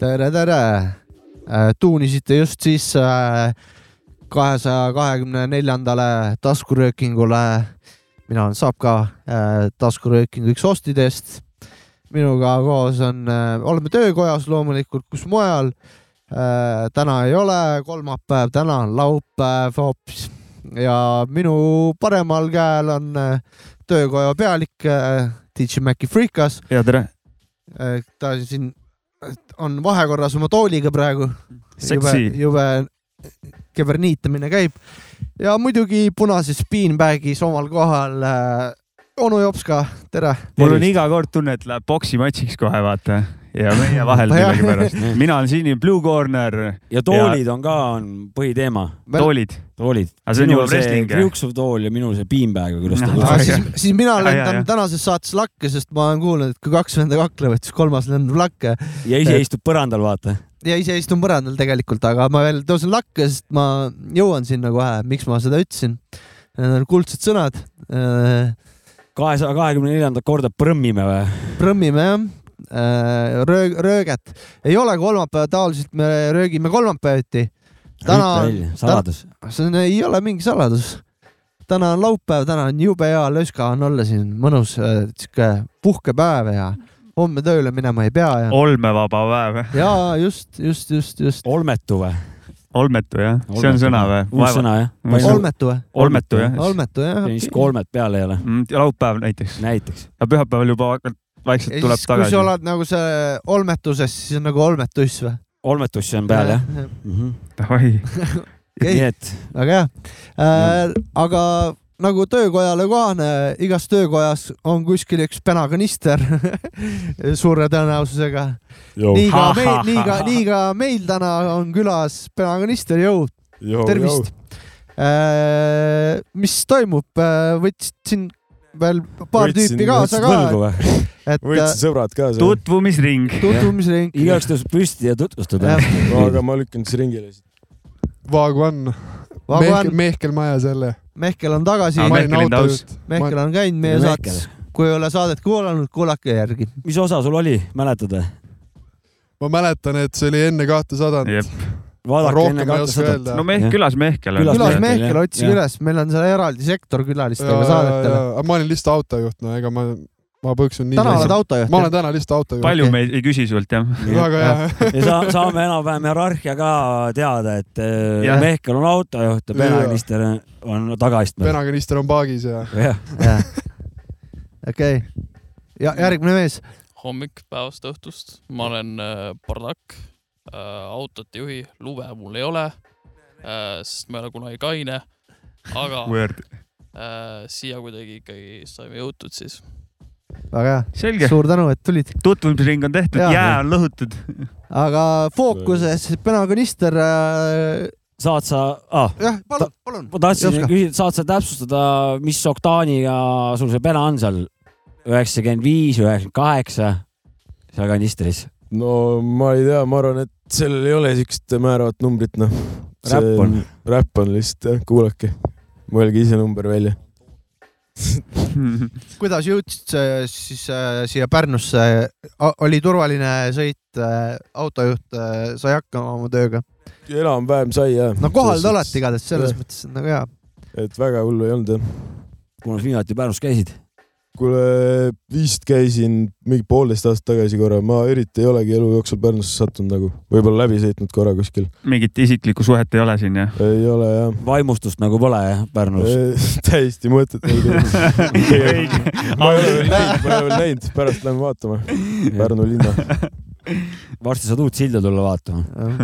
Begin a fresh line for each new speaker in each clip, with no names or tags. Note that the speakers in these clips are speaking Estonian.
tere , tere . tuunisite just siis äh, kahesaja kahekümne neljandale taskuröökingule . mina olen Sapka , taskuröökingu üks ostidest . minuga koos on , oleme töökojas loomulikult , kus mujal . täna ei ole kolmapäev , täna on laupäev hoopis ja minu paremal käel on äh, töökoja pealik äh, DJ Maci Freekas .
ja tere .
Eh, ta siin on vahekorras oma tooliga praegu . jube
Seksi. ,
jube keverniitamine käib ja muidugi punases beanbag'is omal kohal äh, onu Jopska , tere .
mul on iga kord tunne , et läheb poksimatšiks kohe , vaata . ja meie vahel
Jah.
millegipärast . mina olen siin Blue Corner ,
ja toolid on ka , on põhiteema ,
toolid .
toolid .
Aga see on juba wrestling, jah?
kriuksuv tool ja minul see beanbag või kuidas ta
Noh,
Ah,
Ai,
kutsub .
siis,
jah.
siis mina
Ai, jah,
lendan
jah.
tänases saates lakke , sest ma olen kuulnud , et kui kaks venda kaklevad , siis kolmas lendab lakke
ja ise istub põrandal , vaata .
ja ise istun põrandal tegelikult , aga ma veel tõusen lakke , sest ma jõuan sinna kohe , miks ma seda ütlesin . Need on kuldsed sõnad . Äh,
kahesaja kahekümne neljandat korda prõmmime või ?
prõmmime jah , röög , rööget . ei ole kolmapäeva , tavaliselt me röögime kolmapäeviti . täna on ,
saladus .
see on, ei ole mingi saladus . täna on laupäev , täna on jube hea löska on olla siin , mõnus äh, sihuke puhkepäev ja homme tööle minema ei pea ja ,
olmevaba päev ,
ja just , just , just , just .
olmetu või ?
olmetu jah , see on sõna
uus
või ?
sõna jah ?
Ma ei saa-
olmetu või ?
olmetu jah .
olmetu jah .
siis kolmed peal ei ole ,
laupäev näiteks ,
näiteks .
aga pühapäeval juba hakkad vaikselt
ja
tuleb
siis , kui
tagasi
sa . oled nagu see olmetuses , siis on nagu olmetuss või ?
olmetusse on peal jah ?.
davai ,
Okei.
nii et
väga hea äh, . aga nagu töökojale kohane , igas töökojas on kuskil üks penakanister suure tõenäosusega .
Oh.
nii ka meil , nii ka , nii ka meil täna on külas penakanister , jõu , tervist . Äh, mis toimub , võtsid siin veel paar
Võtsin-
tüüpi kaasa
võtsid
ka ,
võlgu või ?
et äh,
võtsin sõbrad kaasa ,
tutvumisring .
tutvumisring .
igaüks tõuseb püsti ja tutvustab jah ?
aga ma lükkan siis ringile .
Vaagvan ,
Vagan ,
Mehkel Majas jälle .
Mehkel on tagasi
Ah, ,
ma
Mehkel
olin
on
autos
taust.
just .
Mehkel on käinud meie
Mehkel.
saates . kui ei ole saadet kuulanud , kuulake järgi .
mis osa sul oli , mäletad või ?
ma mäletan , et see oli enne kahtesadat .
vaadake enne
rohkem ei oska
kahtesadat .
öelda
no . me
Jah.
külas Mehkel
Külas
on
külas .
Mehkel,
Mehkel ,
jah.
otsige
Jah.
üles , meil on seal eraldi sektor külalistega saadetele .
aga ma olin lihtsalt autojuht , no ega ma , ma põksun nii .
täna oled autojuht
ma olen ? täna lihtsalt autojuht .
palju me ei küsi sult jah ,
väga hea .
ja sa, saame enam-vähem hierarhia ka teada , et eh,
Jah.
Mehkel on autojuht ja
Jaa.
peaminister on tagaistmel .
penakanister on paagis ja
jah ,
okei . ja järgmine mees ,
hommik päevast õhtust , ma olen äh, Bardak äh, , autot ei juhi , lube mul ei ole äh, , sest ma ei ole kunagi kaine , aga
word .
äh, siia kuidagi ikkagi saime jõutud siis .
väga hea ,
selge ,
suur tänu , et tulid .
tutvumisring on tehtud ,
Jaa.
jää on lõhutud .
aga fookuses penakonister äh, ,
saad sa ah, ,
jah , palun ,
Ta-
palun .
ma tahtsin
Jopska.
küsida , saad sa täpsustada , mis oktaaniga sul see pena on seal ? üheksakümmend viis , üheksakümmend kaheksa seal kanistris .
no ma ei tea , ma arvan , et sellel ei ole siukest määravat numbrit , noh .
räpp on .
räpp on lihtsalt jah , kuulake , mõelge ise number välja .
kuidas jõudsid äh, siis äh, siia Pärnusse ? oli turvaline sõit äh, , autojuht äh, sai hakkama oma tööga ?
enam-vähem sai jah .
no kohal te olete . igatahes , selles mõttes on nagu hea .
et väga hullu ei olnud jah .
kunas viimati Pärnus käisid ?
kuule , vist käisin mingi poolteist aastat tagasi korra , ma eriti ei olegi elu jooksul Pärnusse sattunud nagu , võib-olla läbi sõitnud korra kuskil .
mingit isiklikku suhet ei ole siin jah ?
ei ole jah .
vaimustust nagu pole jah , Pärnus .
täiesti mõttetu . ma ei ole veel näinud , ma ei ole veel näinud , pärast lähme vaatame . Pärnu linna .
varsti saad uut silda tulla vaatama .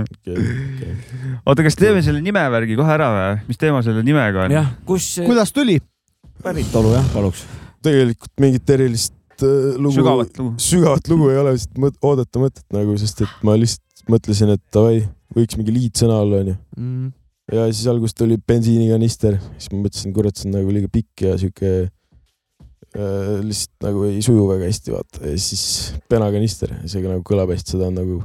oota , kas teeme selle nimevärgi kohe ära või ? mis teema selle nimega on ?
jah , kus
kuidas tuli ?
päritolu jah , paluks .
tegelikult mingit erilist äh, lugu ,
sügavat lugu .
sügavat lugu ei ole lihtsalt mõt, oodata mõtet nagu , sest et ma lihtsalt mõtlesin , et davai , võiks mingi liitsõna olla , onju .
Mm.
ja siis alguses tuli bensiinikanister , siis ma mõtlesin , kurat , see on nagu liiga pikk ja sihuke lihtsalt nagu ei suju väga hästi , vaata . ja siis penakanister , see ka nagu kõlab hästi , seda on nagu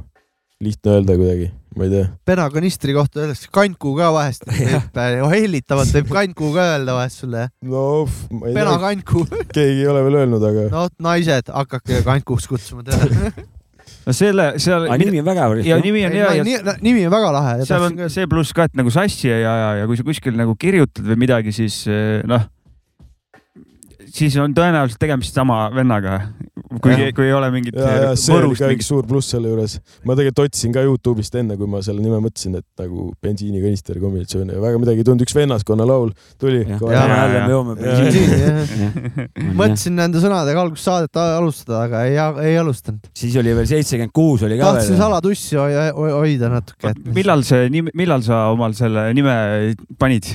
lihtne öelda kuidagi , ma ei tea .
penakanistri kohta öeldakse kantkuu ka vahest , võib äh, hellitavalt võib kantkuu ka öelda vahest sulle .
no f- ma ei tea ,
penakantkuu ,
keegi ei ole veel öelnud , aga
no vot naised , hakake kankuks kutsuma teda .
no selle , seal
aga nimi on vägev .
ja nimi on hea ja
nimi on väga lahe .
seal on see pluss ka , et nagu sassi ei aja ja kui sa kuskil nagu kirjutad või midagi , siis eh, noh , siis on tõenäoliselt tegemist sama vennaga , kui
Jah. ,
kui ei ole mingit
ja , ja
eh,
see oli
võrust
ka üks
mingit .
suur pluss selle juures . ma tegelikult otsin ka Youtube'ist enne , kui ma selle nime mõtlesin , et nagu bensiinikanister kombinatsioon ja väga midagi ei tulnud , üks vennaskonna laul tuli .
jah ,
Jaa,
täna jälle me joome
jaa.
bensiini .
mõtlesin nende sõnadega alguses saadet a- alustada , aga ei , ei alustanud .
siis oli veel seitsekümmend kuus oli ka
tahtsin
veel .
salatussi hoi- hoi- hoida natuke .
millal see nimi , millal sa omal selle nime panid ?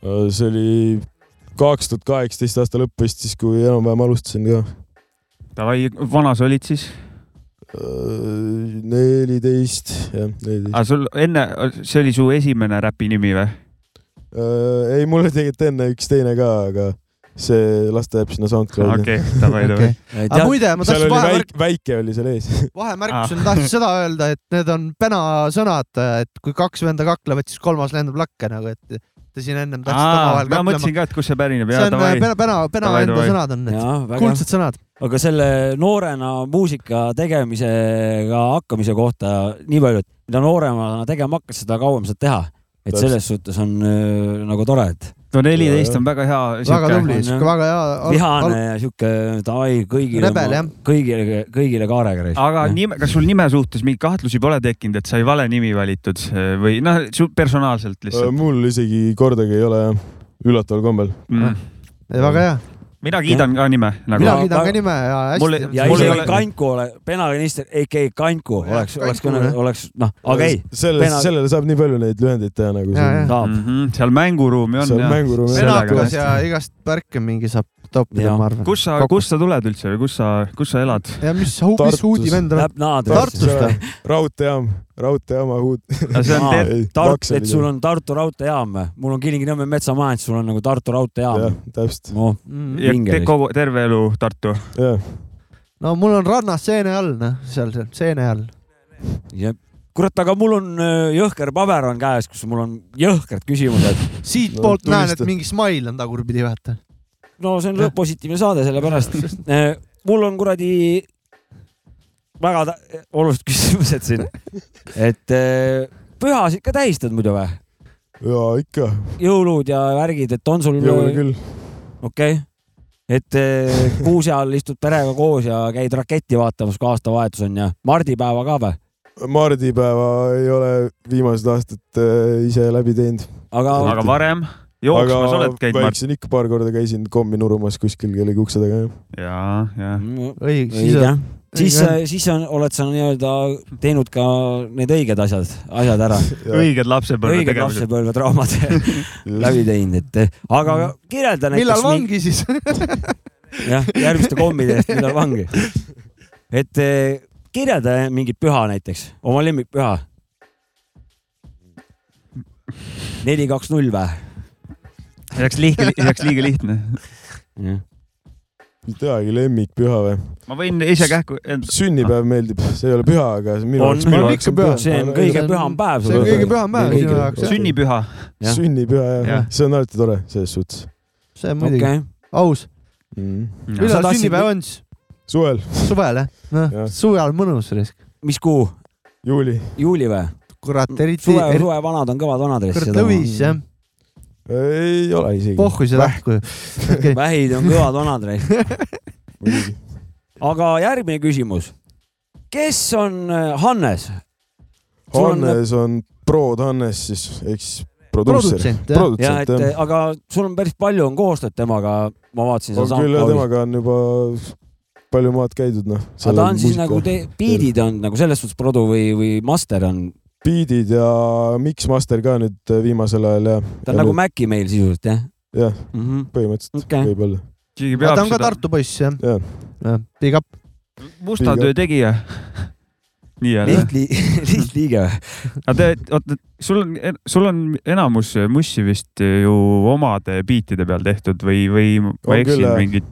Äh, see oli kaks tuhat kaheksateist aasta lõpp vist , siis kui enam-vähem alustasin ka .
Davai , vana sa olid siis ?
Äh, neliteist , jah , neliteist .
aga Ah, sul enne , see oli su esimene räpi nimi või ? Ah.
Äh, ei , mul oli tegelikult enne üks teine ka , aga see las ta jääb sinna SoundCloudi .
Ah, okei , davai , davai .
aga muide , ma
seal
tahtsin
oli
vahemärk ,
väike , väike oli seal ees .
vahemärkusena tahtsin seda öelda , et need on penasõnad , et kui kaks venda kaklevad , siis kolmas lendab lakke nagu , et te siin ennem tahtsite omavahel
ma
kaklema .
mõtlesin ka , et kust see pärineb .
see on äh, pena , pena , pena
Davai,
enda
davai.
sõnad on need , kuldsed sõnad .
aga selle noorena muusika tegemisega hakkamise kohta nii palju , et mida nooremana tegema hakkad , seda kauem saad teha . et
Täpselt.
selles suhtes on öö, nagu tore , et
no neliteist on väga hea .
väga tubli ,
on,
sihuke
jah.
väga hea al-
vihane
al-
ja sihuke davai kõigile
Rebel, jah. ,
kõigile , kõigile kaarega .
aga nime , kas sul nime suhtes mingeid kahtlusi pole tekkinud , et sai vale nimi valitud või noh , personaalselt lihtsalt
Äh, mul isegi kordagi ei ole jah , üllataval kombel .
mm. ?
ei, väga hea ,
mina kiidan ka nime nagu
mina
Aga-
kiidan ka nime ja
Mul-
hästi .
ja
Mul ei
isegi
ole-
ole... Kanku ole , penaminister , AK Kanku
Jah,
oleks , oleks
Kanku,
kõne
jah. ,
oleks noh , aga ei ,
sellest
Pena- ,
sellele saab nii palju neid lühendeid teha nagu
Jaa, jaa.
saab
mm . -hmm. seal mänguruumi on
seal
ja .
mänguruumi
Pena-
on.
penakas ja igast värke mingi saab toppida
Jah. ,
ma arvan .
kus sa , kus sa tuled üldse või kus sa , kus sa elad ?
ja mis , mis
Tartus.
huudi vend on ?
läheb naadrisse .
Tartust või ?
raudteejaam , raudteejaama huud .
see on
Aa.
ter- ,
Tart- , et sul on Tartu raudteejaam , mul on Kilingi-Nõmme metsamajand , sul on nagu Tartu
jah
raudteejaam .,
täpselt ,
noh ,
ja
Mm.
Vinge
te-
vist.
kogu , terve elu Tartu .
jah .
no mul on rannas seene all , noh , seal , seal seene all .
jep . kurat , aga mul on öö, jõhker paber on käes , kus mul on jõhkrad küsimused .
siitpoolt
No,
no, näen , et
tulista.
mingi smile on tagurpidi , vaata .
no see on lõpp- positiivne saade , sellepärast äh, mul on kuradi väga tä- olulised küsimused siin . et öö, pühasid ka tähistad muidu või ?
jaa , ikka ,
jõulud ja värgid , et on sul ?
jõule küll .
okei okay. , et eh, kuuse all istud perega koos ja käid raketti vaatamas , kui aastavahetus on ja mardipäeva ka või ?
mardipäeva ei ole viimased aastad äh, ise läbi teinud .
aga
aga varem jooksmas aga... oled käinud , Mart ?
väiksin ikka paar korda käisin kommi nurumas kuskil kellegi ukse taga , jah .
ja , ja .
Mm,
õige , siis
õige
on ,
siis , siis on , oled sa nii-öelda teinud ka need õiged asjad , asjad ära ,
õiged lapsepõlve
õiged
tegevused .
lapsepõlvetraumad läbi teinud , et eh, aga kirjelda
Mm. millal
näiteks .
vangi siis ?
jah , järgmiste kommide eest , millal vangi . et eh, kirjelda mingit püha näiteks , oma lemmikpüha . neli , kaks , null või ?
see oleks lihtne , see oleks liiga lihtne .
ei teagi , lemmikpüha või ?
ma võin ise kähku , äh,
sünnipäev meeldib , see ei ole püha , aga see minu
On,
jaoks
on
minu
ikka
jaoks on
püha.
püha .
see on
Aga
kõige
see on-
püham päev .
see on kõige
püha-
püham päev
Kõige-
sinu jaoks , jah .
sünnipüha .
jah.
sünnipüha ,
Jah.
jah . see on alati tore selles suhtes
see on muidugi
okei ,
aus .
mm. .
Üle...
Sa
millal
tahtsid-
sünnipäev on siis ?
suvel ,
suvel , jah ? noh ,
Jah.
suvel on mõnus risk .
mis kuu ,
juuli ,
juuli või ?
kurat , eriti ,
suve ,
eriti
suvevanad on kõvad vanad .
kurat lõvis , jah .
ei ole isegi .
pohhu see lahku .
vähid on kõvad vanad . aga järgmine küsimus . kes on äh, Hannes ? Sul on-
Hannes on Prod Hannes siis , ehk siis produusser .
produtsent , jah .
ja
produtsent
et
jah .
äh, aga sul on päris palju on koostööd temaga , ma vaatasin .
on küll jah , temaga on juba palju maad käidud noh .
aga ta on siis nagu te- , biidid on nagu selles suhtes produ või , või master on ,
biidid ja mixmaster ka nüüd äh, viimasel ajal ja .
ta on nagu . Maci meil sisuliselt jah
jah ,
mm -hmm. ?
põhimõtteliselt
Okei.
võib-olla .
keegi
ta
peab
on ka
seda
Tartu poiss , jah .
jah ,
Big up .
musta
Liiga.
töö tegija . nii jälle .
lihtli- , lihtliige või ?
aga te , oota , sul on , sul on äh, enamus mussi vist ju omade biitide peal tehtud või , või ma
On
eksin
küll, jah.
mingit ,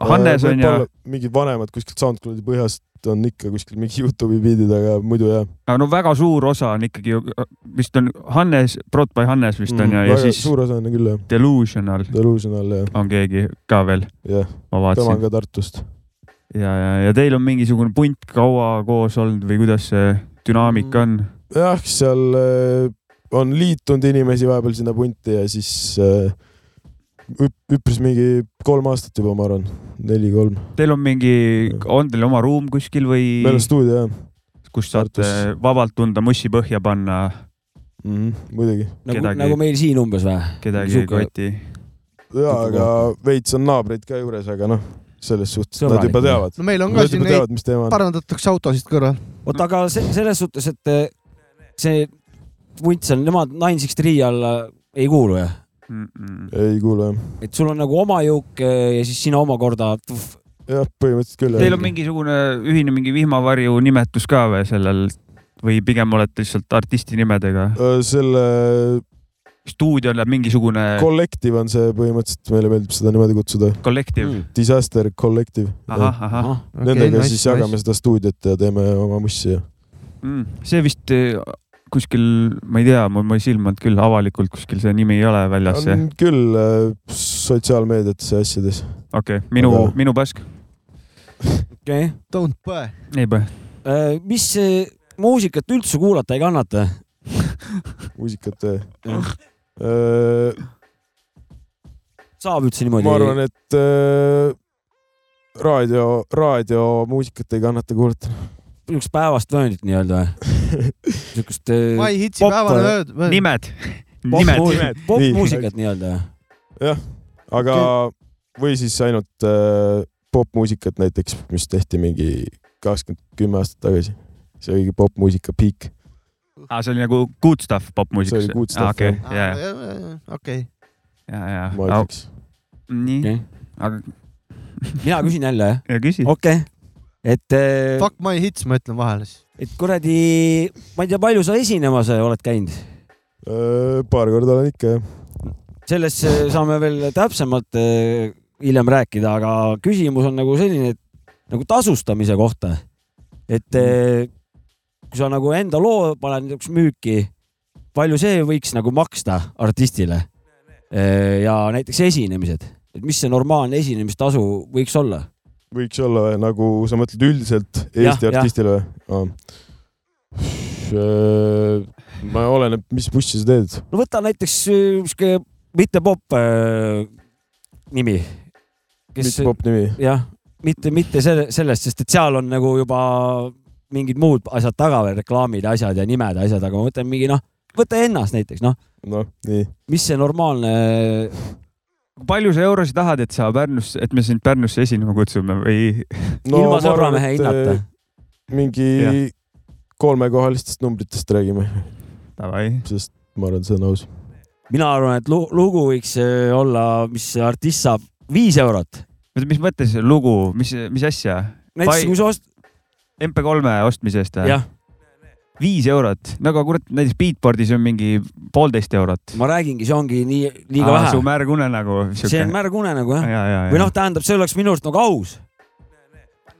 Hannes on ja ,
Äh, mingid vanemad kuskilt SoundCloudi põhjast on ikka kuskil mingi Youtube'i biidid , aga muidu jah .
no väga suur osa on ikkagi ju , vist on Hannes , Brought by Hannes vist
Mm.
on ju , ja siis
Mm, suur osa on küll jah ,
Delusional
Delusional jah ,
on keegi ka veel ,
jah ,
ma
tema on
vaatasin .
ka Tartust .
ja , ja , ja teil on mingisugune punt kaua koos olnud või kuidas see dünaamika on ?
jah , seal äh, on liitunud inimesi vahepeal sinna punti ja siis äh, üp- üpris mingi kolm aastat juba , ma arvan , neli-kolm .
Teil on mingi , on teil oma ruum kuskil või
meil on stuudio jah
kus saate
Tartus.
vabalt tunda mussi põhja panna
mm , -hmm, muidugi .
nagu ,
Kedagi-
nagu meil siin umbes või ?
kedagi
Sihuke-
koti ?
jaa , aga veits on naabreid ka juures , aga noh , selles suhtes nad
Sõbralik.
juba teavad .
no meil on ka
Nad
siin
juba
neid ,
teavad , mis teema on .
parandatakse autosid kõrval .
oota , aga se- selles suhtes , et eh, see vunt seal , nemad Nine Six Three alla ei kuulu jah ?
ei kuule jah .
et sul on nagu oma jõuk eh, ja siis sina omakorda tuff,
jah , põhimõtteliselt küll .
Teil on mingisugune ühine mingi vihmavarju nimetus ka või sellel või pigem olete lihtsalt artisti nimedega ?
Äh, selle
stuudio läheb mingisugune
kollektiiv on see põhimõtteliselt , meile meeldib seda niimoodi kutsuda .
kollektiiv mm. ?
Disaster Collective .
ahah , ahah
ahah ,
Nendega siis jagame seda stuudiot ja teeme oma mussi ja .
mm. . see vist eh, kuskil , ma ei tea , ma ei silmanud küll avalikult kuskil see nimi ei ole väljas ,
on
okei
küll äh, sotsiaalmeediates ja asjades .
okay. , minu
Aga- ,
minu pask .
okei .
Don't põe .
ei põe .
mis eh, muusikat üldse kuulata ei kannata ?
muusikat . Äh,
Jah.
ma
saab üldse niimoodi ?
arvan , et äh, raadio , raadiomuusikat ei kannata kuulata .
niisugust päevast vööndit nii-öelda või ? niisugust eh,
ma ei hitsi
Pop-
päevane ööd .
nimed , nimed .
popmuusikat , popmuusikat nii-öelda eh? või ?
jah , aga või siis ainult äh, popmuusikat näiteks , mis tehti mingi kakskümmend , kümme aastat tagasi . see oligi popmuusika peak .
aa , see oli nagu good stuff
See
popmuusikas
oli good stuff,
okei ,
Ah,
jah.
ja ,
okei ,
ja ,
Ah,
ma
ja .
ütleks .
nii ,
Okei.
aga
mina küsin jälle , jah ?
ja küsi .
okei okay. . et ,
fuck my hits , ma ütlen vahele siis .
et kuradi , ma ei tea , palju sa esinemas eh, oled käinud ?
Äh, paar korda olen ikka jah .
sellest eh, saame veel täpsemalt eh, hiljem rääkida , aga küsimus on nagu selline , et nagu tasustamise kohta . et eh, kui sa nagu enda loo paned niisuguseks müüki , palju see võiks nagu maksta artistile ? ja näiteks esinemised , et mis see normaalne esinemistasu võiks olla ?
võiks olla või nagu sa mõtled üldiselt
Jah,
Eesti
jah.
artistile või ? Äh, ma oleneb , mis bussi sa teed .
no võta näiteks eh, sihuke mitte popp eh, nimi .
mis popp nimi ?
jah , mitte , mitte selle , sellest , sest et seal on nagu juba mingid muud asjad taga veel , reklaamid ja asjad ja nimed ja asjad , aga ma mõtlen mingi noh , võta ennast näiteks noh ,
noh , nii .
mis see normaalne ,
palju sa eurosid tahad , et sa Pärnusse , et me sind Pärnusse esinema kutsume või ?
ilma sõbramehe
äh,
hinnata .
mingi
Jah.
kolmekohalistest numbritest räägime ,
Davai .
sest ma arvan , see on aus .
mina arvan , et lu- lugu võiks eh, olla , mis artist saab viis eurot .
mis mõttes lugu , mis , mis asja ? Vai- Äh.
näiteks kui sa ost- ,
MP3 ostmise eest või ?
jah ,
viis eurot , no aga kurat , näiteks Beatboardis on mingi poolteist eurot .
ma räägingi , see ongi nii liiga Aa,
su
vähe .
märgune nagu .
see on märg une nagu jah ,
ja , ja ,
või
ja
noh ,. tähendab , see oleks minu arust nagu aus .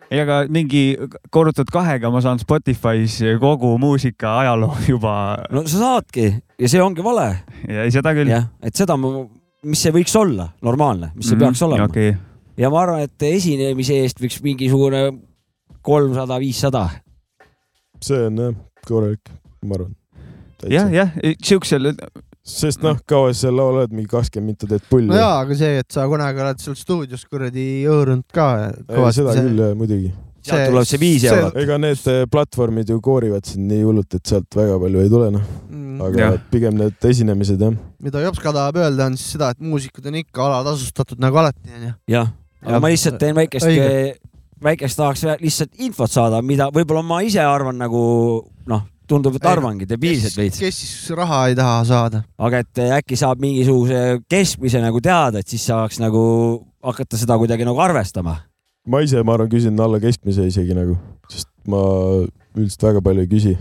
ei , aga mingi korrutad kahega , ma saan Spotify's kogu muusika ajaloo juba
no sa saadki ja see ongi vale ,
ja ei, seda küll .
jah , et seda ma , mis see võiks olla normaalne , mis
Mhm.
see peaks olema .
okei ,
ja ma arvan , et esinemise eest võiks mingisugune kolmsada , viissada .
see on jah , korralik , ma arvan .
jah , jah , siuksel ,
sest noh , kaua sa seal laval oled , mingi kakskümmend minta teed pulli
no . jaa , aga see , et sa kunagi oled seal stuudios kuradi hõõrunud ka kõvasti .
seda küll jah , muidugi .
sealt tuleb see viis eurot. .
ega need eh, platvormid ju koorivad sind nii hullult , et sealt väga palju ei tule , noh . aga ja.
Jah.
pigem need esinemised jah .
Mm. mida Jopska tahab öelda , on siis seda , et muusikud on ikka alatasustatud nagu alati , onju .
jah , aga
Ja-
ma lihtsalt teen väikest
õige. ,
väikest tahaks vä- lihtsalt infot saada , mida võib-olla ma ise arvan nagu noh , tundub , et
Ei,
arvangi debiilselt veits ,
kes siis raha ei taha saada ?
aga et eh, äkki saab mingisuguse keskmise nagu teada , et siis saaks nagu hakata seda kuidagi nagu arvestama .
ma ise , ma arvan , küsin alla keskmise isegi nagu , sest ma üldiselt väga palju ei küsi .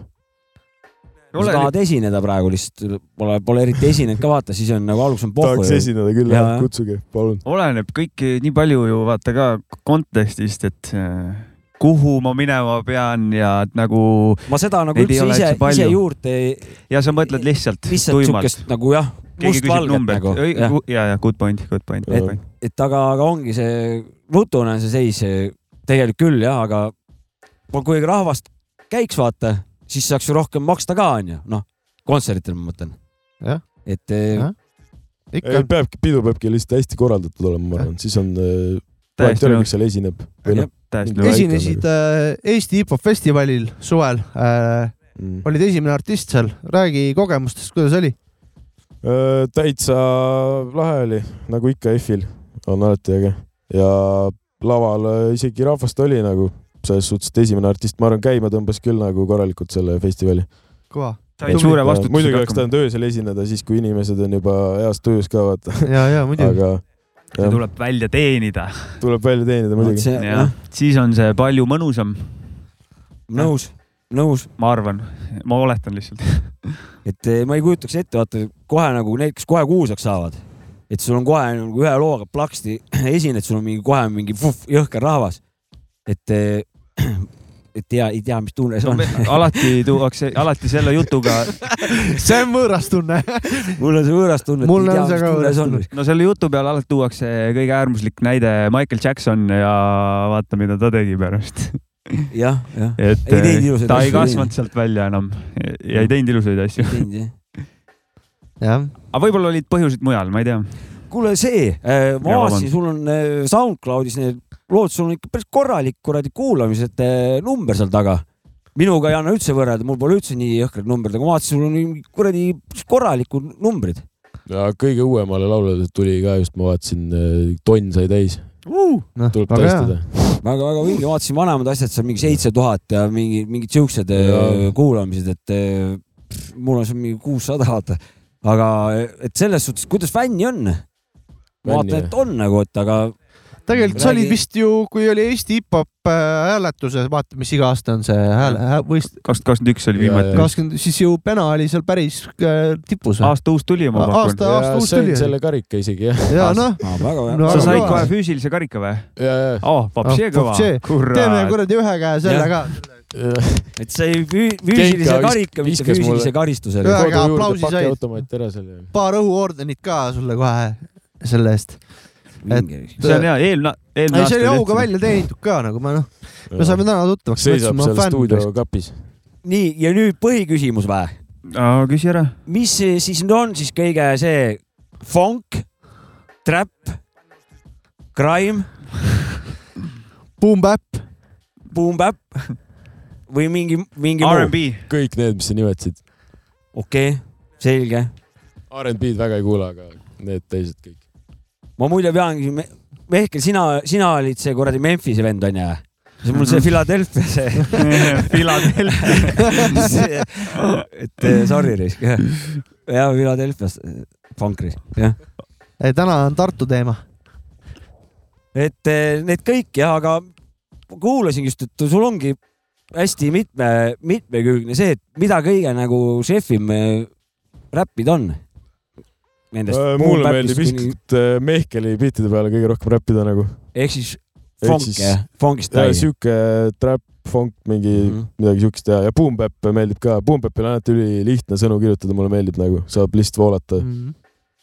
kui sa tahad esineda praegu lihtsalt , pole , pole eriti esinenud ka vaata , siis on nagu alguses on pohhu .
tahaks esineda küll
Jaa, , jah.
kutsuge , palun .
oleneb kõik eh, nii palju ju vaata ka kontekstist , et äh, kuhu ma minema pean ja et nagu
ma seda nagu
Neid ei
üldse
ole
ise
üldse , palju.
ise juurde ei ,
ja sa mõtled lihtsalt,
lihtsalt
tuimalt .
siukest nagu jah ,
keegi küsib
mustvalget
numbrit
nagu .
ja
jah ,
ja , ja good point , good point , good
Jah.
point .
et aga , aga ongi see , rutune on see seis eh, tegelikult küll jah , aga ma- kui rahvast käiks vaata , siis saaks ju rohkem maksta ka onju , noh , kontserditel ma mõtlen .
Jah.
et eh,
Jah. ikka
ei , peabki , pidu peabki lihtsalt hästi korraldatud olema , ma arvan , siis on , vahet
täiesti
ei ole ,
nõus ,
kes seal esineb . või noh ,
täiesti
Esi-
nõus .
esinesid äh, Eesti hip-hop festivalil suvel äh, ,
mm.
olid esimene artist seal , räägi kogemustest , kuidas oli ?
Öö, Äh, täitsa lahe oli , nagu ikka EF-il on alati äge ja laval öö, isegi rahvast oli nagu selles suhtes , et esimene artist , ma arvan , käima tõmbas küll nagu korralikult selle festivali .
kõva .
said suure
muidugi
vastutusega
oleks
hakkama ,
tahtnud öösel esineda siis , kui inimesed on juba heas tujus ka vaata ,
ja , ja muidugi .
aga
see tuleb välja teenida ,
tuleb välja teenida
vot
muidugi .
see jah ,
siis on see palju mõnusam ,
nõus , nõus ,
ma arvan , ma oletan lihtsalt .
et eh, ma ei kujutaks ette , vaata kohe nagu need , kes kohe kuulsaks saavad , et sul on kohe nagu ühe looga plaksti esined , sul on mingi kohe mingi vuh, jõhker rahvas , et eh, et tea , ei tea , mis tunne see on .
alati tuuakse , alati selle jutuga ,
see on võõras tunne .
mul on see võõras tunne , et
Mul
ei tea
on , see
mis
ka
tunne
võõras
see on
tunne. .
no selle jutu peale alati tuuakse kõige äärmuslik näide Michael Jackson ja vaata , mida ta tegi pärast .
jah , jah .
et
Ei
eh,
teinud ilusaid
ta ei
asju,
kasvanud sealt välja enam ja ei teinud ilusaid asju .
jah ,
aga võib-olla olid põhjused mujal , ma ei tea .
kuule , see ,
Jaa,
ma vaatasin ,
vabandust.
sul on eh, SoundCloudis need lood , sul on ikka päris korralik kuradi kuulamised eh, number seal taga . minuga ei anna üldse võrrelda , mul pole üldse nii jõhkrad numbrid , aga ma vaatasin , sul on mingi kuradi päris korralikud numbrid .
ja kõige uuemale lauljale tuli ka just , ma vaatasin , tonn sai täis ,
noh ,
tuleb
väga hea .
tõestada .
väga-väga vinge , vaatasin vanemad asjad , seal mingi seitse tuhat ja mingi , mingid siuksed eh,
Jaa.
kuulamised , et eh, pff, mul on seal mingi kuussada , vaata . aga et selles suhtes , kuidas fänni on ? ma
Fänni,
vaatan , et on nagu , et aga
tegelikult sa olid
Räägi-
vist ju , kui oli Eesti hip-hop äh, hääletuses , vaata , mis iga aasta on see hääl , võist- ,
kaks tuhat kakskümmend üks oli
Ja,
viimati .
kakskümmend , siis ju Pena oli seal päris äh, tipus .
aasta uus tuli , ma pakun .
aasta , aasta uus
sain
tuli .
selle karika isegi jah ,
ja noh ,
ah, väga hea
No
sa
aga
said
kõva.
kohe füüsilise karika või ?
ja , ja ,
oh , papšee
Ah,
kõva
papšee. . teeme
kurat .
kuradi ühe käe selle
Jah.
ka .
ja .
et see ei füü- füüsilise
Genka vis-
karika , mitte
viskas mulle-
füüsilise karistuse .
Jaa.
kodu
aga
juurde
aplausi said.
pakiautomaat ära seal .
paar õhuordenit ka sulle kohe selle eest .
see on hea , eelmine ,
ei ,
eelmine aasta .
see oli auga . välja teenitud ka nagu ma noh , me saime täna tuttavaks .
seisab seal stuudio . kapis .
nii ja nüüd põhiküsimus vä ,
küsi ära .
mis see siis nüüd on siis kõige see funk , trap , crime ,
Boom Bap ,
boom bap või mingi , mingi muu ?
RMB .
kõik need , mis sa nimetasid .
okei okay, , selge .
RNB-d väga ei kuula , aga need teised kõik .
ma muide peangi me, , Mehkel , sina , sina olid see kuradi Memphise vend onju ? see on mul
Mhm.
see Philadelphia see ,
Philadelphia .
see , et eh, sorry risk , jah , Philadelphia's , funkris , jah .
täna on Tartu teema .
et eh, need kõik jah , aga ma kuulasin just , et sul ongi hästi mitme , mitmekülgne see , et mida kõige nagu šefim eh, räppida on . Nendest .
Äh,
Äh,
mulle meeldib isiklikult äh, Mehkeli biitide peale kõige rohkem räppida nagu .
ehk siis
Ehk
funk
siis-
jah , funkist räägime .
sihuke äh, trap , funk , mingi mm -hmm.
Mhm.
midagi siukest ja , ja Boom Bap meeldib ka . Boom Bapil on alati ülilihtne sõnu kirjutada , mulle meeldib nagu , saab lihtsalt voolata
Mm.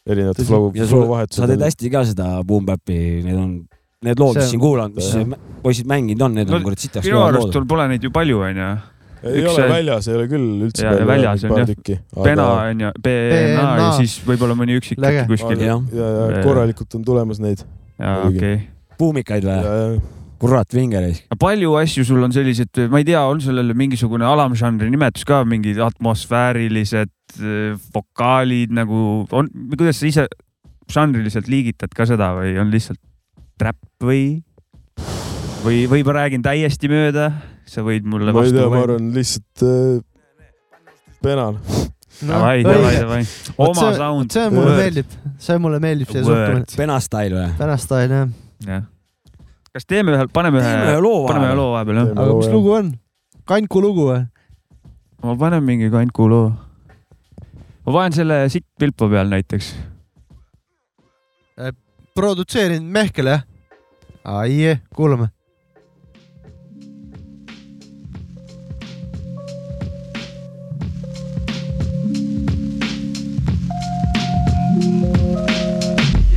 erinevate
Tõsi.
flow ,
Ja sul-
flow
sa teed
vahetused .
hästi ka seda boom bap'i , need on , need lood ,
See
mis
on-
siin kuulanud , mis
Jah.
see mä- poisid mänginud on , need
No
on kurat sitaks
minu
kõvad
arust
lood .
sul pole neid ju palju , onju .
ei
üks
ole
see-
väljas , ei ole küll üldse
Jaa,
palju,
väljas on,
paar
jah.
tükki .
Pena onju , BNA ja
BNA.
siis võib-olla mõni üksik
Läge.
äkki kuskil .
ja
jah. ,
ja korralikult on tulemas neid .
jaa , okei .
buumikaid või ?
ja ,
kurat , vinge reis .
palju asju sul on sellised , ma ei tea , on sellele mingisugune alamžanri nimetus ka , mingid atmosfäärilised eh, vokaalid nagu on , kuidas sa ise žanriliselt liigitad ka seda või on lihtsalt trap või , või , või ma räägin täiesti mööda , sa võid mulle
ma ei
vastu
tea , ma . arvan lihtsalt äh, Penal .
Davai , davai , davai , oma sound .
see mulle
Word.
meeldib , see mulle meeldib , see
Word.
suhtumine .
Pena style või ?
tänast aina jah .
kas teeme ühe , paneme
teeme
ühe
ühe , loo
paneme ühe
vahele .
loo vahepeal jah ?
aga mis lugu on ? kandku lugu või ?
ma panen mingi kantku loo . ma panen selle sitt Pilpa peal näiteks .
produtseerinud Mehkel jah ? ai , kuulame .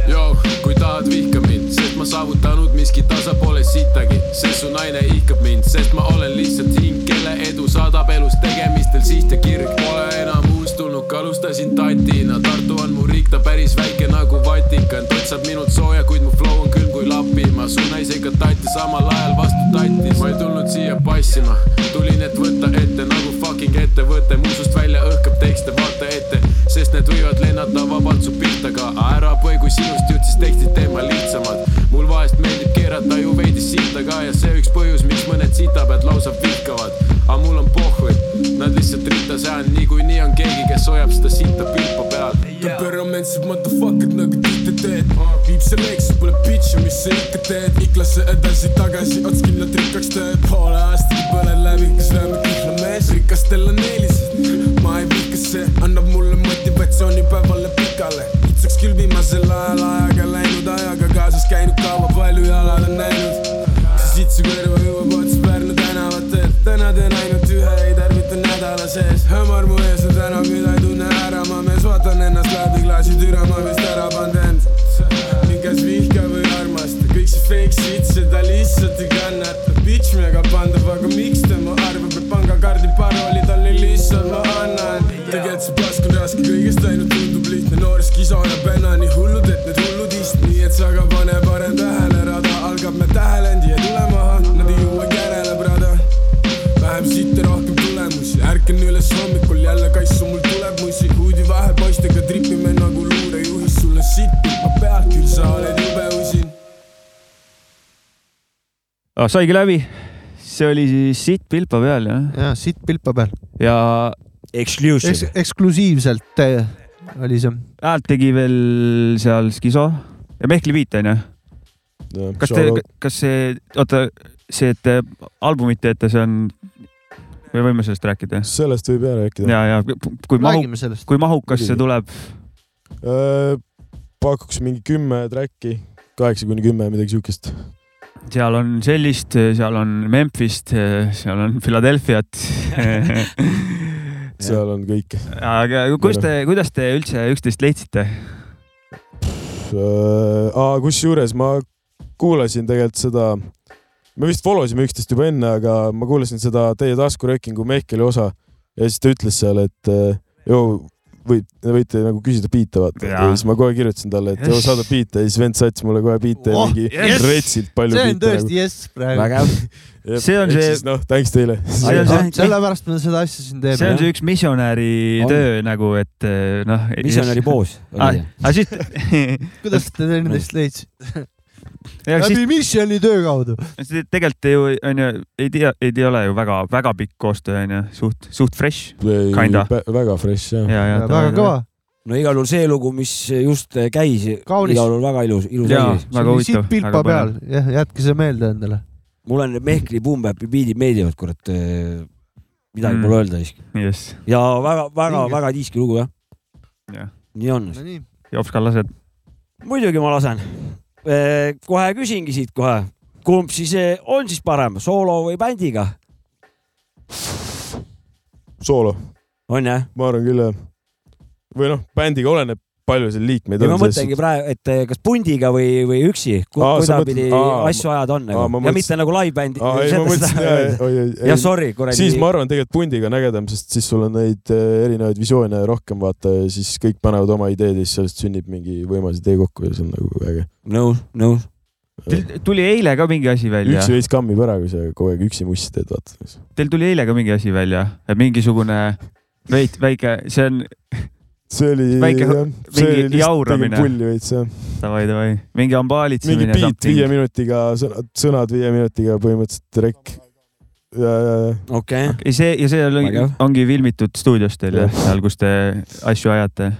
Jou, kui tahad , vihka mind , sest ma saavutanud miski tasapoole sittagi , sest su naine ihkab mind , sest ma olen lihtsalt hing , kelle edu saadab elus tegemistel siht ja kirg . Pole enam uus tulnuk , alustasin tatina , Tartu on mu riik , ta päris väike nagu Vatikan , totsab minult sooja , kuid mu flow on külm kui Lapimaa , su naisega tatti samal ajal vastu tattis . ma ei tulnud siia passima , tulin , et võtta ette nagu fucking ettevõte , mu sust välja õhkab tekste , vaata ette , sest need võivad lennata vabalt su pihta ka . ära põe , kui sinust jutt , siis tekstid teema lihtsamad . mul vahest meeldib keerata ju veidi sita ka ja see üks põhjus , miks mõned sitapead lausa vihkavad . aga mul on pohhui , nad lihtsalt ritta sean , niikuinii on keegi , kes hoiab seda sita pilpa peal . temperamentsed motherfucker'd nagu tihti teed . viib see reeks , pole bitch'i , mis sa ikka teed . Iklasse edasi-tagasi , ots kindlalt rikkaks teeb . poole aastaga põlen läbi , kas lööme kihla mees , rikastel on eelised . ma ei vihka , see annab mulle motivatsiooni päevale pikale . kitsaks küll viimasel ajal ajaga läinud , ajaga kaasas käinud kaua , palju jalad on näinud . see sitt su kõrva jõuab otse Pärnu tänavatel . täna teen ainult ühe , ei tarvita nädala sees . hämar mu ees on täna , mida ei tunne ära , ma mees vaatan ennast läbi klaasi türa , ma vist ära pannud end . mind kas vihka või armasta , kõik see fake shit , seda lihtsalt ei kannata . Bitch mega pandav , aga miks tema arvab , et pangakaardi parooli talle lihtsalt ma annan . tegelikult see plask on raske , kõigest ainult tundub lihtne , noor skiso ajab enna nii hullud , et need hullud ist , nii et sa aga pane parem tähele , rada algab me tähelendi ja tule maha , nad ei jõua järele , brada vähem sitte , rohkem tulemusi , ärkan üles hommikul jälle kassu , mul tuleb musi , huudi vahe poistega tripime nagu luurejuhis , sulle sitt hüppab pealt , küll sa oled jube usin .
Ah, saigi läbi , see oli siis sitt Pilpa peal jah ,
ja siit pilpa peal .
ja
Eks,
Exclusive .
eksklusiivselt eh, oli see .
häält tegi veel seal Skiso ja Mehkli Viit onju . kas te , kas see , oota , see , et te albumit teete , see on , me võime sellest rääkida jah?
sellest võib ära rääkida .
ja , ja kui mahu- ,
räägime sellest .
kui mahukas see
Muidugi.
tuleb ,
Äh, pakuks mingi kümme track'i , kaheksa kuni kümme , midagi siukest .
seal on sellist , seal on Memphist , seal on Philadelphiat .
seal on kõik .
aga kuidas te , kuidas te üldse üksteist leidsite ?
Äh, kusjuures ma kuulasin tegelikult seda , me vist follow sime üksteist juba enne , aga ma kuulasin seda teie taskuröökingu Mehkeli osa ja siis ta ütles seal , et äh, joo , võid , võite nagu küsida biite vaata . ja
Jaa.
siis ma kohe kirjutasin talle , et joo , saada biite ja siis vend sats mulle kohe biite ja
Oh,
mingi
yes!
retsilt palju
see on
biite nagu.
tõesti jess praegu .
vägev .
Jep,
See on
ehk
see-
siis noh , thanks teile .
see on see ,
sellepärast me seda asja siin
see on
teeme .
see üks misjonäri
On.
töö nagu , et eh, noh .
misjonäri . poos oli
aga siis ,
kuidas te teineteist leidsite ?
ja siis
läbi missiooni töö kaudu .
see tegelikult ju onju , ei tea , ei tea , ole ju väga-väga pikk koostöö onju , suht , suht fresh . Kinda.
väga fresh jah .
ja , ja .
väga kõva .
no igal juhul see lugu , mis just äh, käis ,
Kaunis.
igal juhul väga ilus , ilus
Jaa.
asi .
Väga huvitav,
siit pilpa
väga
peal
põnev. ,
jah , jätke see meelde endale .
mulle need Mehkli Boompäppi biidid meeldivad , kurat . midagi
Mm.
pole öelda siiski .
jess ,
ja väga-väga-väga tiiski lugu jah
Jah. .
nii on .
no nii ,
jops kallased .
muidugi ma lasen . kohe küsingi siit kohe , kumb siis eh, on siis parem , soolo või bändiga ?
soolo ,
on jah ?
ma arvan küll jah . või noh , bändiga oleneb , palju seal liikmeid
ja
on
ma . mõtlengi praegu , et eh, kas pundiga või , või üksi ,
Aa, sa
kuidagipidi
mõtled- aa,
asju ajada on nagu
aa, ma
ja
mõtlesin-
mitte nagu live-bändi .
aa Ah, ei , ma mõtlesin , oi , ei ,
jah , sorry , kuradi .
siis ma arvan , tegelikult pundiga on ägedam , sest siis sul on neid eh, erinevaid visioone rohkem vaata ja siis kõik panevad oma ideed ja siis sellest sünnib mingi võimas idee kokku ja see on nagu äge .
nõus , nõus .
Teil tuli eile ka mingi asi välja
üksi , veits kammib ära , kui sa kogu aeg üksi mussi teed , vaata .
teil tuli eile ka mingi asi välja , mingisugune veid- , väike , see on ,
see oli ,
Väike- mingi jauramine.
pulli veits jah .
davai , davai , mingi
mingi
hambaalitsemine .
beat viie minutiga , sõnad , sõnad viie minutiga põhimõtteliselt rekk . ja , ja , ja
Oh.
okei okay. ,
ja see ja see oli,
Vägev.
ongi filmitud stuudios teil jah , seal , kus te asju ajate .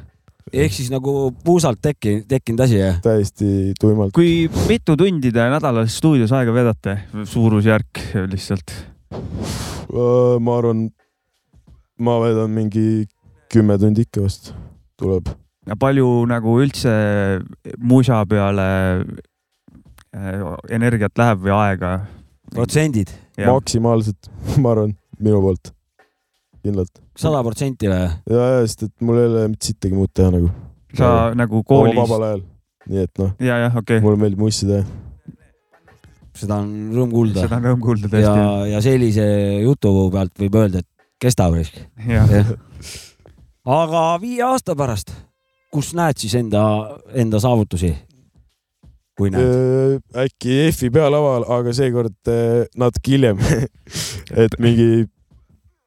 ehk siis nagu puusalt tekkinud , tekkinud asi jah ?
täiesti tuimalt .
kui mitu tundi te nädalas stuudios aega veedate , suurusjärk lihtsalt ?
ma arvan , ma veedan mingi kümme tundi ikka vast tuleb .
ja palju nagu üldse musa peale äh, energiat läheb või aega ?
protsendid ,
maksimaalselt , ma arvan , minu poolt . kindlalt .
sada protsenti või ?
ja , ja , sest et mul ei ole mitte sittagi muud teha nagu .
sa nagu
oma
koolis ?
vabal ajal . nii et noh ,
ja , jah ,
Eh.
okei okay. ,
mulle meeldib mussi teha .
seda on rõõm kuulda .
seda on rõõm kuulda
ja
tõesti ,.
ja sellise jutu pealt võib öelda , et kestab risk .
jah ,
aga viie aasta pärast , kus näed siis enda , enda saavutusi ? kui
Äh.
näed ,
äkki EF-i pealaval , aga seekord eh, natuke hiljem . et mingi ,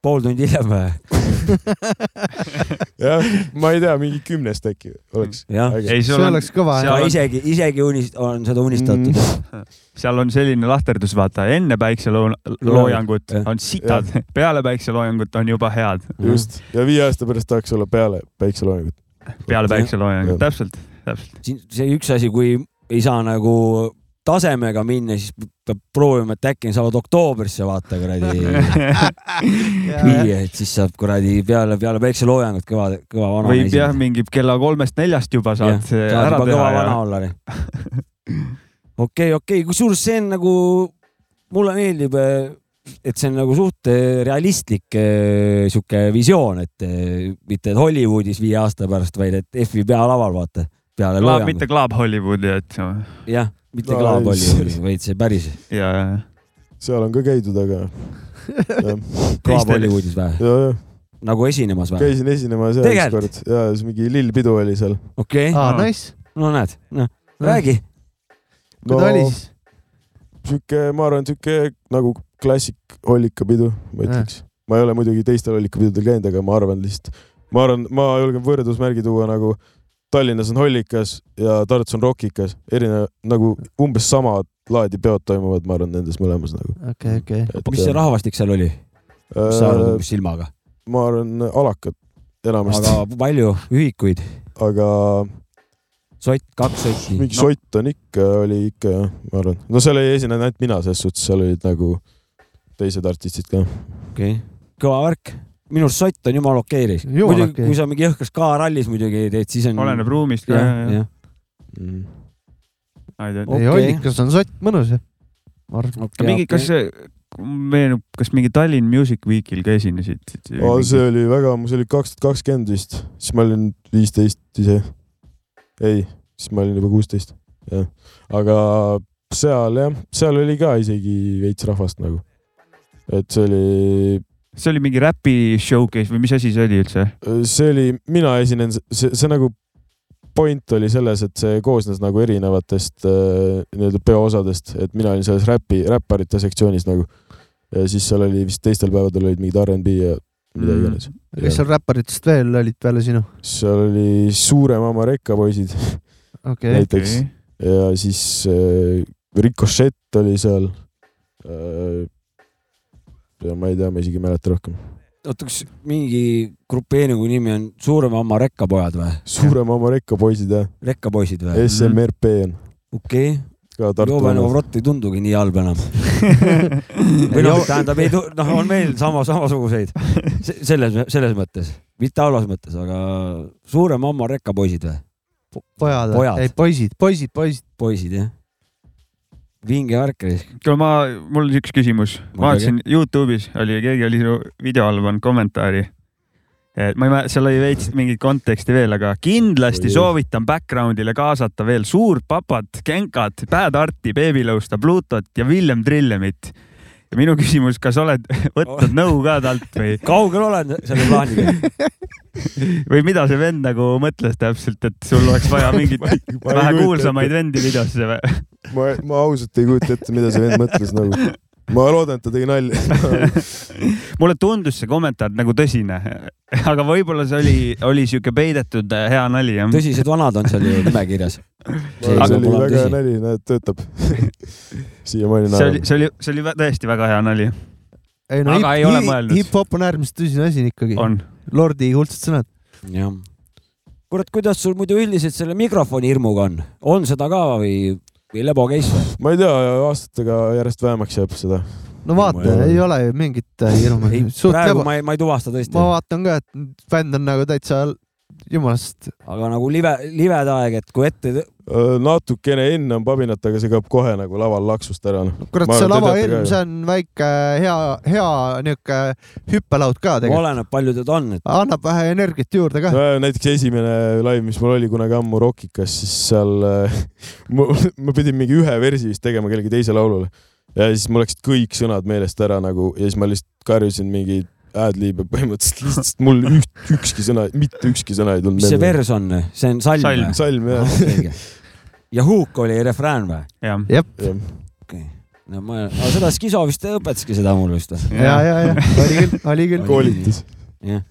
pool tundi hiljem või ?
jah , ma ei tea , mingi kümnest äkki oleks .
jah ,
ei ,
see
sul on ,
oleks kõva
seal
jah .
aga
on-
isegi , isegi unist- , on seda unistatud mm. .
seal on selline lahterdus , vaata enne päikseloojangut
Jah.
on sitad , peale päikseloojangut on juba head ,
Mm, just , ja viie aasta pärast tahaks olla peale päikseloojangut .
peale
Jah.
päikseloojangut ,
Jah.
täpselt , täpselt .
siin see üks asi , kui ei saa nagu tasemega minna , siis peab proovima , et äkki saavad oktoobrisse vaata kuradi
Äh.
viie , et siis saab kuradi peale , peale päikseloojangut kõva , kõva vana
võib jah , mingi kella kolmest-neljast juba saad eh, ära teha
kõva vana
ja
olla . okei , okei , kusjuures see on nagu , mulle meeldib , et see on nagu suht eh, realistlik eh, sihuke visioon , et eh, mitte et Hollywoodis viie aasta pärast , vaid et F-i pealaval vaata , peale
klaab ,
loojangut
mitte . klaab Hollywoodi , et ja ,
jah , mitte
No,
klaab
ei,
Hollywoodis , vaid see päris
ja , ja
seal on ka käidud , aga jah ,
klaab
Teistel-
Hollywoodis või ?
ja , ja
nagu esinemas või ?
käisin esinemas ja
Tegelikult?
ükskord ja siis mingi lillpidu oli seal .
okei ,
aa , nice .
no näed , noh , räägi .
kui ta oli siis ?
sihuke , ma arvan , sihuke nagu klassik hollikapidu , ma
Jah.
ütleks . ma ei ole muidugi teistel hollikapidudel käinud , aga ma arvan lihtsalt , ma arvan , ma julgen võrdusmärgi tuua nagu Tallinnas on hollikas ja Tartus on rokikas , erinev nagu umbes samad laadi peod toimuvad , ma arvan , nendes mõlemas nagu .
okei , okei .
mis see rahvastik seal oli ? mis sa arvad , umbes silmaga ?
Äh, ma arvan , alakad enamasti ,
aga palju ühikuid ?
aga
sott , kaks sotti .
mingi Mm. no. sott on ikka , oli ikka jah , ma arvan . no seal ei esinenud ainult mina selles suhtes , seal olid nagu teised artistid ka .
okei okay. , kõva värk . minu arust sott on jumala okei reis .
Jumala
muidugi ,
okei.
kui sa mingi jõhkras K-rallis muidugi teed , siis on .
oleneb ruumist ka ,
Mm. jah ,
ja ,
jah .
Mm.
ja .
Okei.
ei , hollikas on sott , mõnus ju . ma arvan ,
okei
aga mingi , kas see , meenub , kas mingi Tallinn Music Weekil ka esinesid ?
Oh, see oli väga , see oli kaks tuhat kakskümmend vist , siis ma olin viisteist ise . ei , siis ma olin juba kuusteist , jah . aga seal jah , seal oli ka isegi veits rahvast nagu . et see oli ,
see oli mingi räpi showcase või mis asi see oli üldse ?
Äh, see oli , mina esinen , see , see nagu point oli selles , et see koosnes nagu erinevatest äh, nii-öelda peoosadest , et mina olin selles räpi , räpparite sektsioonis nagu . ja siis seal oli vist teistel päevadel olid mingid R'n'B ja mida
Mm.
iganes .
kes seal räpparitest veel olid peale sinu ?
seal oli Suuremama rekkapoisid
okei okay. ,
näiteks okay. ja siis äh, Ricochet oli seal äh, . ja ma ei tea , ma isegi ei mäleta rohkem .
oota , kas mingi grupeeringu nimi on Suurema Amma rekkapojad või ?
Suuremama rekkapoisid jah ,
rekkapoisid või ?
SMRP on
okei okay. ,
ka Tartu
Joven
vanad .
Ovrot ei tundugi nii halb enam . või noh , tähendab , ei tu- , noh , on meil sama , samasuguseid . selles , selles mõttes , mitte halvas mõttes , aga Suurema Amma rekkapoisid või ?
pojad,
Pojad.
pojad. , ei poisid , poisid , poisid .
poisid jah . vinge värk oli .
kuule , ma , mul oli üks küsimus . ma
Muidugi.
vaatasin Youtube'is oli , keegi oli su video all pannud kommentaari . ma ei mäleta , seal oli veits mingit konteksti veel , aga kindlasti
Oi.
soovitan background'ile kaasata veel Suurt Papat , Genkat , Bad Arti , Beebilõusta , Pluutot ja Villem Trillemit . ja minu küsimus , kas oled
Oh.
võtnud nõu ka talt või ?
kaugel olen selle plaaniga ?
või mida see vend nagu mõtles täpselt , et sul oleks vaja mingit vähe kuulsamaid . vendi videosse või ?
ma , ma ausalt ei kujuta ette , mida see vend mõtles nagu . ma loodan , et ta tegi nalja .
mulle tundus see kommentaar nagu tõsine , aga võib-olla see oli , oli sihuke peidetud äh, hea nali jah .
tõsised vanad on seal ju nimekirjas .
see
Aga
oli
pole
väga hea
tõsi.
nali , näed , töötab . siiamaani
see oli ,
naerab .
see oli , see oli vä- tõesti väga hea nali ,
ei
Aga ei ole
hip ,
mõelnud.
hip-hop on äärmiselt tõsine asi ikkagi .
on .
Lordi kuldsed sõnad .
jah . kurat , kuidas sul muidu üldiselt selle mikrofoni hirmuga on ? on seda ka või , või lebo case või ?
ma ei tea , aastatega järjest vähemaks jääb seda .
no vaata , ei ole ju mingit äh, hirmu .
ei , praegu ma ei , ma ei tuvasta tõesti
ma , vaatan ka , et fänn on nagu täitsa jumalast .
aga nagu live , lived aeg , et kui ette ,
Äh, natukene enne on pabinat , aga see kaob kohe nagu laval laksust ära .
kurat , see lavahirm , see on väike hea , hea niuke hüppelaud ka tegelikult .
oleneb palju teda on , et
annab vähe energiat juurde ka .
no, . näiteks esimene live , mis mul oli kunagi ammu Rockikas , siis seal äh, ma, ma pidin mingi ühe versi vist tegema kellegi teise laulule ja siis mul läksid kõik sõnad meelest ära nagu ja siis ma lihtsalt karjusin mingi ad-lib'e põhimõtteliselt , lihtsalt mul üht, ükski sõna , mitte ükski sõna ei tulnud
mis see . vers on , see on salm,
Salm.
või?
salm jah ,
Ah, õige. ja huuk oli refrään või ?
jah .
jah .
no ma , seda Skiso vist õpetaski seda mul vist või ?
ja , ja , ja oli küll , oli küll .
koolitus .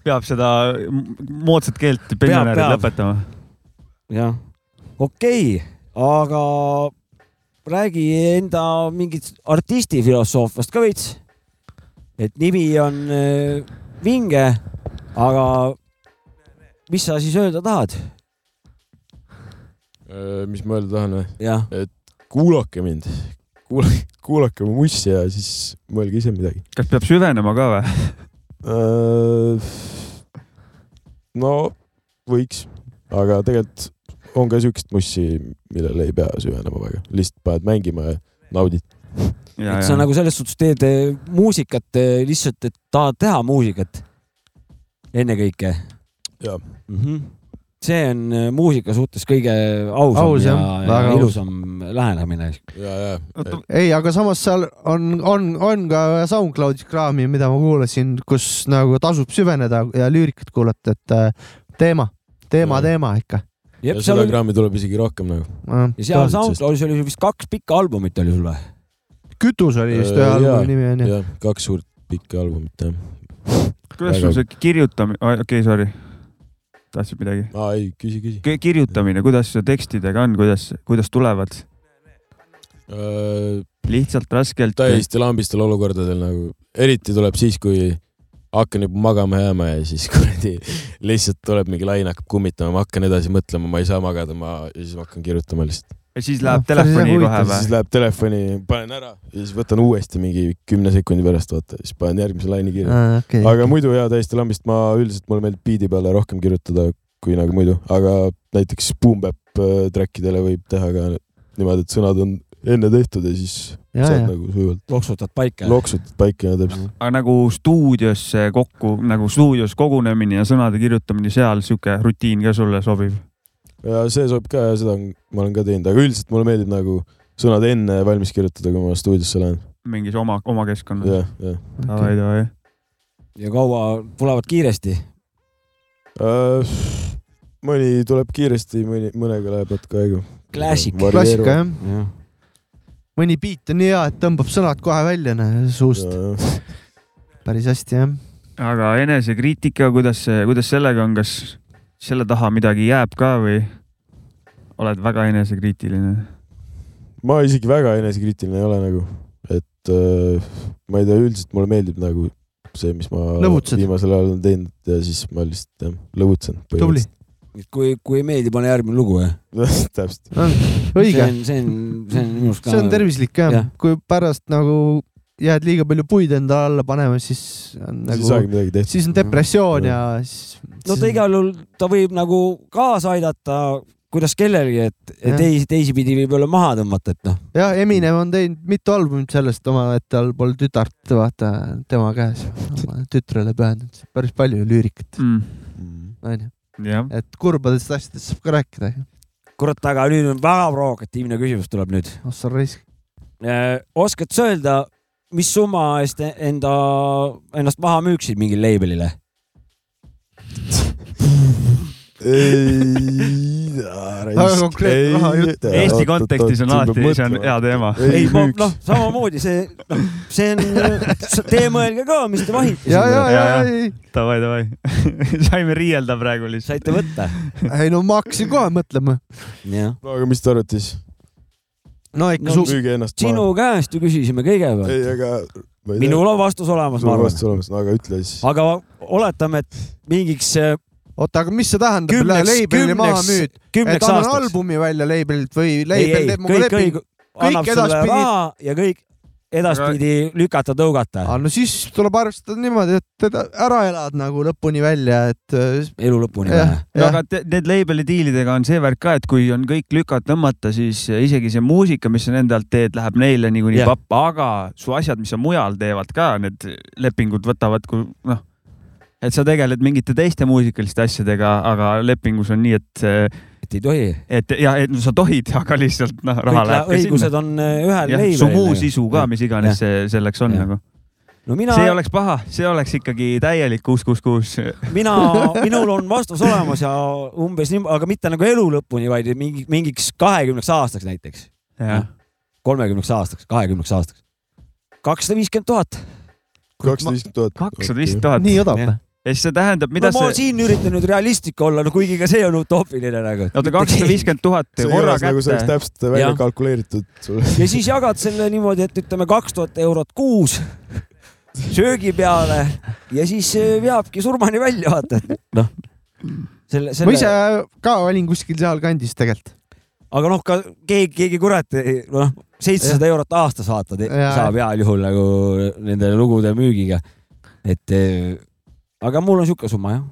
peab seda m- moodsat keelt
peab.
pensionärid lõpetama .
jah , okei okay, , aga räägi enda mingit artisti filosoofiast ka veits . et nimi on äh, vinge , aga mis sa siis öelda tahad ?
Äh, mis ma öelda tahan või ?
jah ,
kuulake mind , kuulake , kuulake mu mussi ja siis mõelge ise midagi .
kas peab süvenema ka või ?
no Äh, võiks , aga tegelikult on ka siukest mussi , millele ei pea süvenema väga , lihtsalt paned mängima ja naudid .
et sa nagu selles suhtes teed äh, muusikat äh, lihtsalt , et tahad teha muusikat ennekõike
Jah.
mm . -hmm see on äh, muusika suhtes kõige ausam
Aus,
Aus, ja,
jah.
ja
Väga aus.
ilusam lähenemine .
ja , ja
Oota,
ei , aga samas seal on , on , on ka SoundCloudi kraami , mida ma kuulasin , kus nagu tasub süveneda ja lüürikat kuulata , et äh, teema , teema ,
Mm.
teema ikka . Äh,
ja seda kraami tuleb isegi rohkem nagu .
ja seal
Tõenäoliselt.
SoundCloudis oli sul vist kaks pikka albumit oli sul või ?
kütus oli vist
Äh,
ühe
jaa,
albumi nimi onju .
jah , kaks suurt pikka albumit jah .
kuidas sul see kirjutamine , okei okay, , sorry . tahtsid midagi ?
aa ei , küsi , küsi .
kirjutamine , kuidas see tekstidega on , kuidas , kuidas tulevad ? lihtsalt raskelt ?
Äh, täiesti lambistel olukordadel nagu , eriti tuleb siis , kui hakkan juba magama jääma ja siis kuradi lihtsalt tuleb mingi laine hakkab kummitama , ma hakkan edasi mõtlema , ma ei saa magada , ma ja siis ma hakkan kirjutama lihtsalt .
ja siis läheb
Noh, see
telefoni
on
kohe
huvitav,
või
siis ? läheb telefoni , panen ära ja siis võtan uuesti mingi kümne sekundi pärast , vaata , siis panen järgmise laine kirja .
okei ,
aga muidu jaa , täiesti lambist ma üldiselt , mulle meeldib biidi peale rohkem kirjutada kui nagu muidu , aga näiteks boom bap äh, track idele võib teha ka niimoodi , et sõnad on enne tehtud ja siis ja,
ja ,
saad
ja
ja. , nagu sujuvalt
loksutad paika ?
loksutad paika ja täpselt .
aga nagu stuudiosse kokku , nagu stuudios kogunemine ja sõnade kirjutamine seal sihuke rutiin ka sulle sobib ?
ja see sobib ka ja seda on, ma olen ka teinud , aga üldiselt mulle meeldib nagu sõnad enne valmis kirjutada , kui ma stuudiosse lähen .
mingis oma , oma keskkonnas ?
jah , jah .
davai , davai .
ja kaua tulevad kiiresti ?
Äh, mõni tuleb kiiresti , mõni , mõnega läheb natuke aega .
Classic.
klassika jah ,
jah ,
mõni biit on nii hea , et tõmbab sõnad kohe välja näe, suust , päris hästi jah .
aga enesekriitika , kuidas , kuidas sellega on , kas selle taha midagi jääb ka või oled väga enesekriitiline ?
ma isegi väga enesekriitiline ei ole nagu , et äh, ma ei tea , üldiselt mulle meeldib nagu see , mis ma
Lõbutsed.
viimasel ajal olen teinud ja siis ma lihtsalt jah , lõbutsen .
Tubli. .
kui , kui ei meeldi , pane järgmine lugu jah .
täpselt ,
see
õige ,
on , see on , see on minu arust ka .
see on tervislik jah
Jah. ,
kui pärast nagu jääd liiga palju puid enda alla panema , siis on
siis
nagu
ei saagi midagi tehtud .
siis on depressioon ja siis .
no ta igal juhul , ta võib nagu kaasa aidata , kuidas kellelgi , et , et
Jah.
teisi , teisipidi võib-olla maha tõmmata , et noh ,
jah , Eminem on teinud mitu albumit sellest oma , et tal pole tütart , vaata tema käes , oma tütrele pühendatud , päris palju lüürikat ,
Mm.
Mm.
onju ,
jah ,
et kurbadest asjadest saab ka rääkida .
kurat , aga nüüd on väga provokatiivne küsimus tuleb nüüd .
Ossar Reisk ,
oskad sa öelda , mis summa eest enda , ennast maha müüksid mingile label'ile ?
Väga konkreetne rahajutt.
Eesti kontekstis on alati , see on hea . teema .
ei ,
ei müüks
noh , samamoodi see , noh , see on , te mõelge ka , mis te vahite
ja , ja , ja ,
jah.
ei ,
Davai , davai . saime riielda praegu lihtsalt .
saite võtta .
ei no ma hakkasin kohe mõtlema ,
jah ,
no aga mis te arvate siis ?
no ikka
No,
no, suur ,
müüge ennast
sinu käest ju küsisime kõigepealt .
ei , aga .
minul on vastus olemas , ma
sul on
arvan .
vastus olemas , no aga ütle siis .
aga oletame , et mingiks äh,
oota , aga mis see tähendab , üle
kümneks ,
label'i maha
kümneks
müüd ,, et
kümneks
annan
aastaks .
albumi välja labelilt või
ei ,
label
ei ,
teeb mulle
kõik ,
lepingu
kõik , annab sulle
edaspidi-
raha ja kõik edaspidi lükata-tõugata .
aga Ah, no siis tuleb arvestada niimoodi , et teda ära elad nagu lõpuni välja , et . äh,
elu lõpuni
no aga te, need label'i diilidega on see värk ka , et kui on kõik lükad tõmmata , siis isegi see muusika , mis sa nende alt teed , läheb neile niikuinii
Jah.
pappa , aga su asjad , mis sa mujal teevad ka , need lepingud võtavad , kui noh , et sa tegeled mingite teiste muusikaliste asjadega , aga lepingus on nii , et ,
et ei tohi .
et ja et no, sa tohid , aga lihtsalt noh , raha
kõik lä-
läheb ka
õigused
sinna .
on äh, ühel
jah , su muu
leivel .
sisu ka , mis iganes see selleks on
Jah.
nagu .
no mina
see , ei oleks paha , see oleks ikkagi täielik kuus , kuus , kuus .
mina , minul on vastus olemas ja umbes nii , aga mitte nagu elu lõpuni , vaid mingi mingiks kahekümneks aastaks näiteks ,
jah ,
kolmekümneks aastaks , kahekümneks aastaks . kakssada viiskümmend tuhat .
kakssada viiskümmend tuhat .
kakssada viiskümmend tuhat .
nii odav
Jah.
või ?
ja siis see tähendab ,
no
eh? mida
ma
see
siin üritan nüüd realistlik olla , no kuigi ka see on utoopiline nagu .
oota , kakssada . viiskümmend tuhat
see ei
korra
oleks nagu see oleks
kätte .
täpselt välja
Jah.
kalkuleeritud .
ja siis jagad selle niimoodi , et ütleme kaks tuhat eurot kuus söögi peale ja siis äh, veabki surmani välja , vaata , et noh . selle ,
ma ise
selle ,
ka olin kuskil sealkandis tegelikult .
aga noh , ka keegi , keegi kurat , noh , seitsesada eurot aastas vaata ,
Jaa.
saab heal juhul nagu nende lugude müügiga . et eh, aga mul on sihuke summa jah .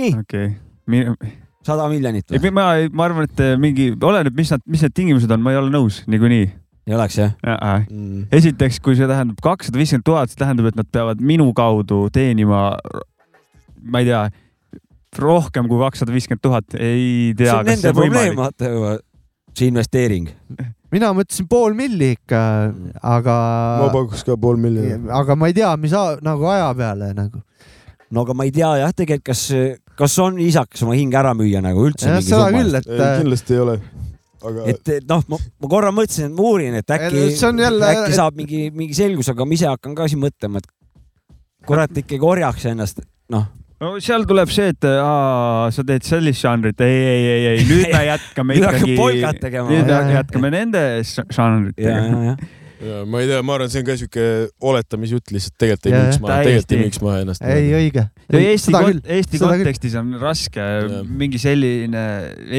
nii ,
okei ,
sada miljonit või ?
ei ma , ma arvan , et eh, mingi , oleneb , mis nad , mis need tingimused on , ma ei ole nõus niikuinii .
ei oleks jah ?
Mm.
esiteks , kui see tähendab kakssada viiskümmend tuhat , see tähendab , et nad peavad minu kaudu teenima , ma ei tea , rohkem kui kakssada viiskümmend tuhat , ei
see
tea ,
on
kas see
nende
on
probleem ,
võimalik .
vaata juba , see investeering .
mina mõtlesin pool milli ikka , aga ,
ma pakuks ka pool miljonit .
aga ma ei tea , mis a- nagu aja peale nagu .
no aga ma ei tea jah , tegelikult kas , kas on viisakas oma hing ära müüa nagu üldse
jah ,
mingi
seda
summa
küll ,
eest?
et äh,
kindlasti ei ole . aga
et et noh , ma, ma korra mõtlesin , et ma uurin , et äkki
Ei, , see on jälle-
äkki
et-
saab mingi , mingi selgus , aga ma ise hakkan ka siin mõtlema , et kurat ikkagi orjaks ennast , noh .
no seal tuleb see , et eh, aa, sa teed sellist žanrit , ei , ei , ei , ei , nüüd me jätkame
Nüüd hakkab
ikkagi .
polkat tegema.
nüüd
Jaa, jaa.
jätkame nende žanritega .
ja, ma ei tea , ma arvan , see on ka siuke oletamisjutt lihtsalt , tegelikult ei
Jaa,
müüks
jah.
maha , tegelikult ei
Täiesti.
müüks maha ennast .
ei , õige .
ja Eesti ,
seda küll ,
Eesti
seda küll.
kontekstis on raske
Jah.
mingi selline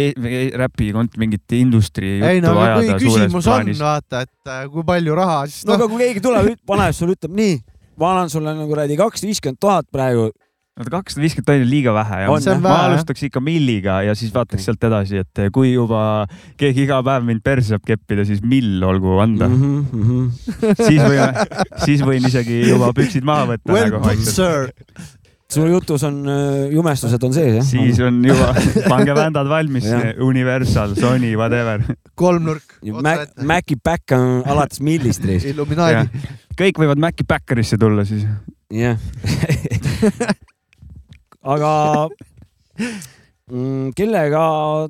e- või räpi kont- , mingit industry
ei
juttu
no aga kui
ajada suures
küsimus on ,
plaanis .
vaata , et äh, kui palju raha , siis
no
noh ,
aga kui keegi tuleb , paneb sulle , ütleb nii , ma annan sulle nagu kuradi kakssada viiskümmend tuhat praegu ,
oota , kakssada viiskümmend tonni on liiga vähe
On, See
jah
on ?
ma
vähe, jah. Mm.
alustaks ikka milliga ja siis vaataks sealt edasi , et kui juba keegi iga päev mind perse saab keppida , siis mill olgu anda mm .
Mhm,
-hmm. siis võin , siis võin isegi juba püksid maha võtta nagu vaikselt .
sir .
sul jutus on äh, jumestused on sees jah ?
siis on juba , pange vändad valmis
Jah. ,
Universal , Sony , whatever .
kolmnurk ,
Mac , Maci back on alates millist reis ?
Illuminaadi .
kõik võivad Maci Backerisse tulla siis .
jah aga mm, kellega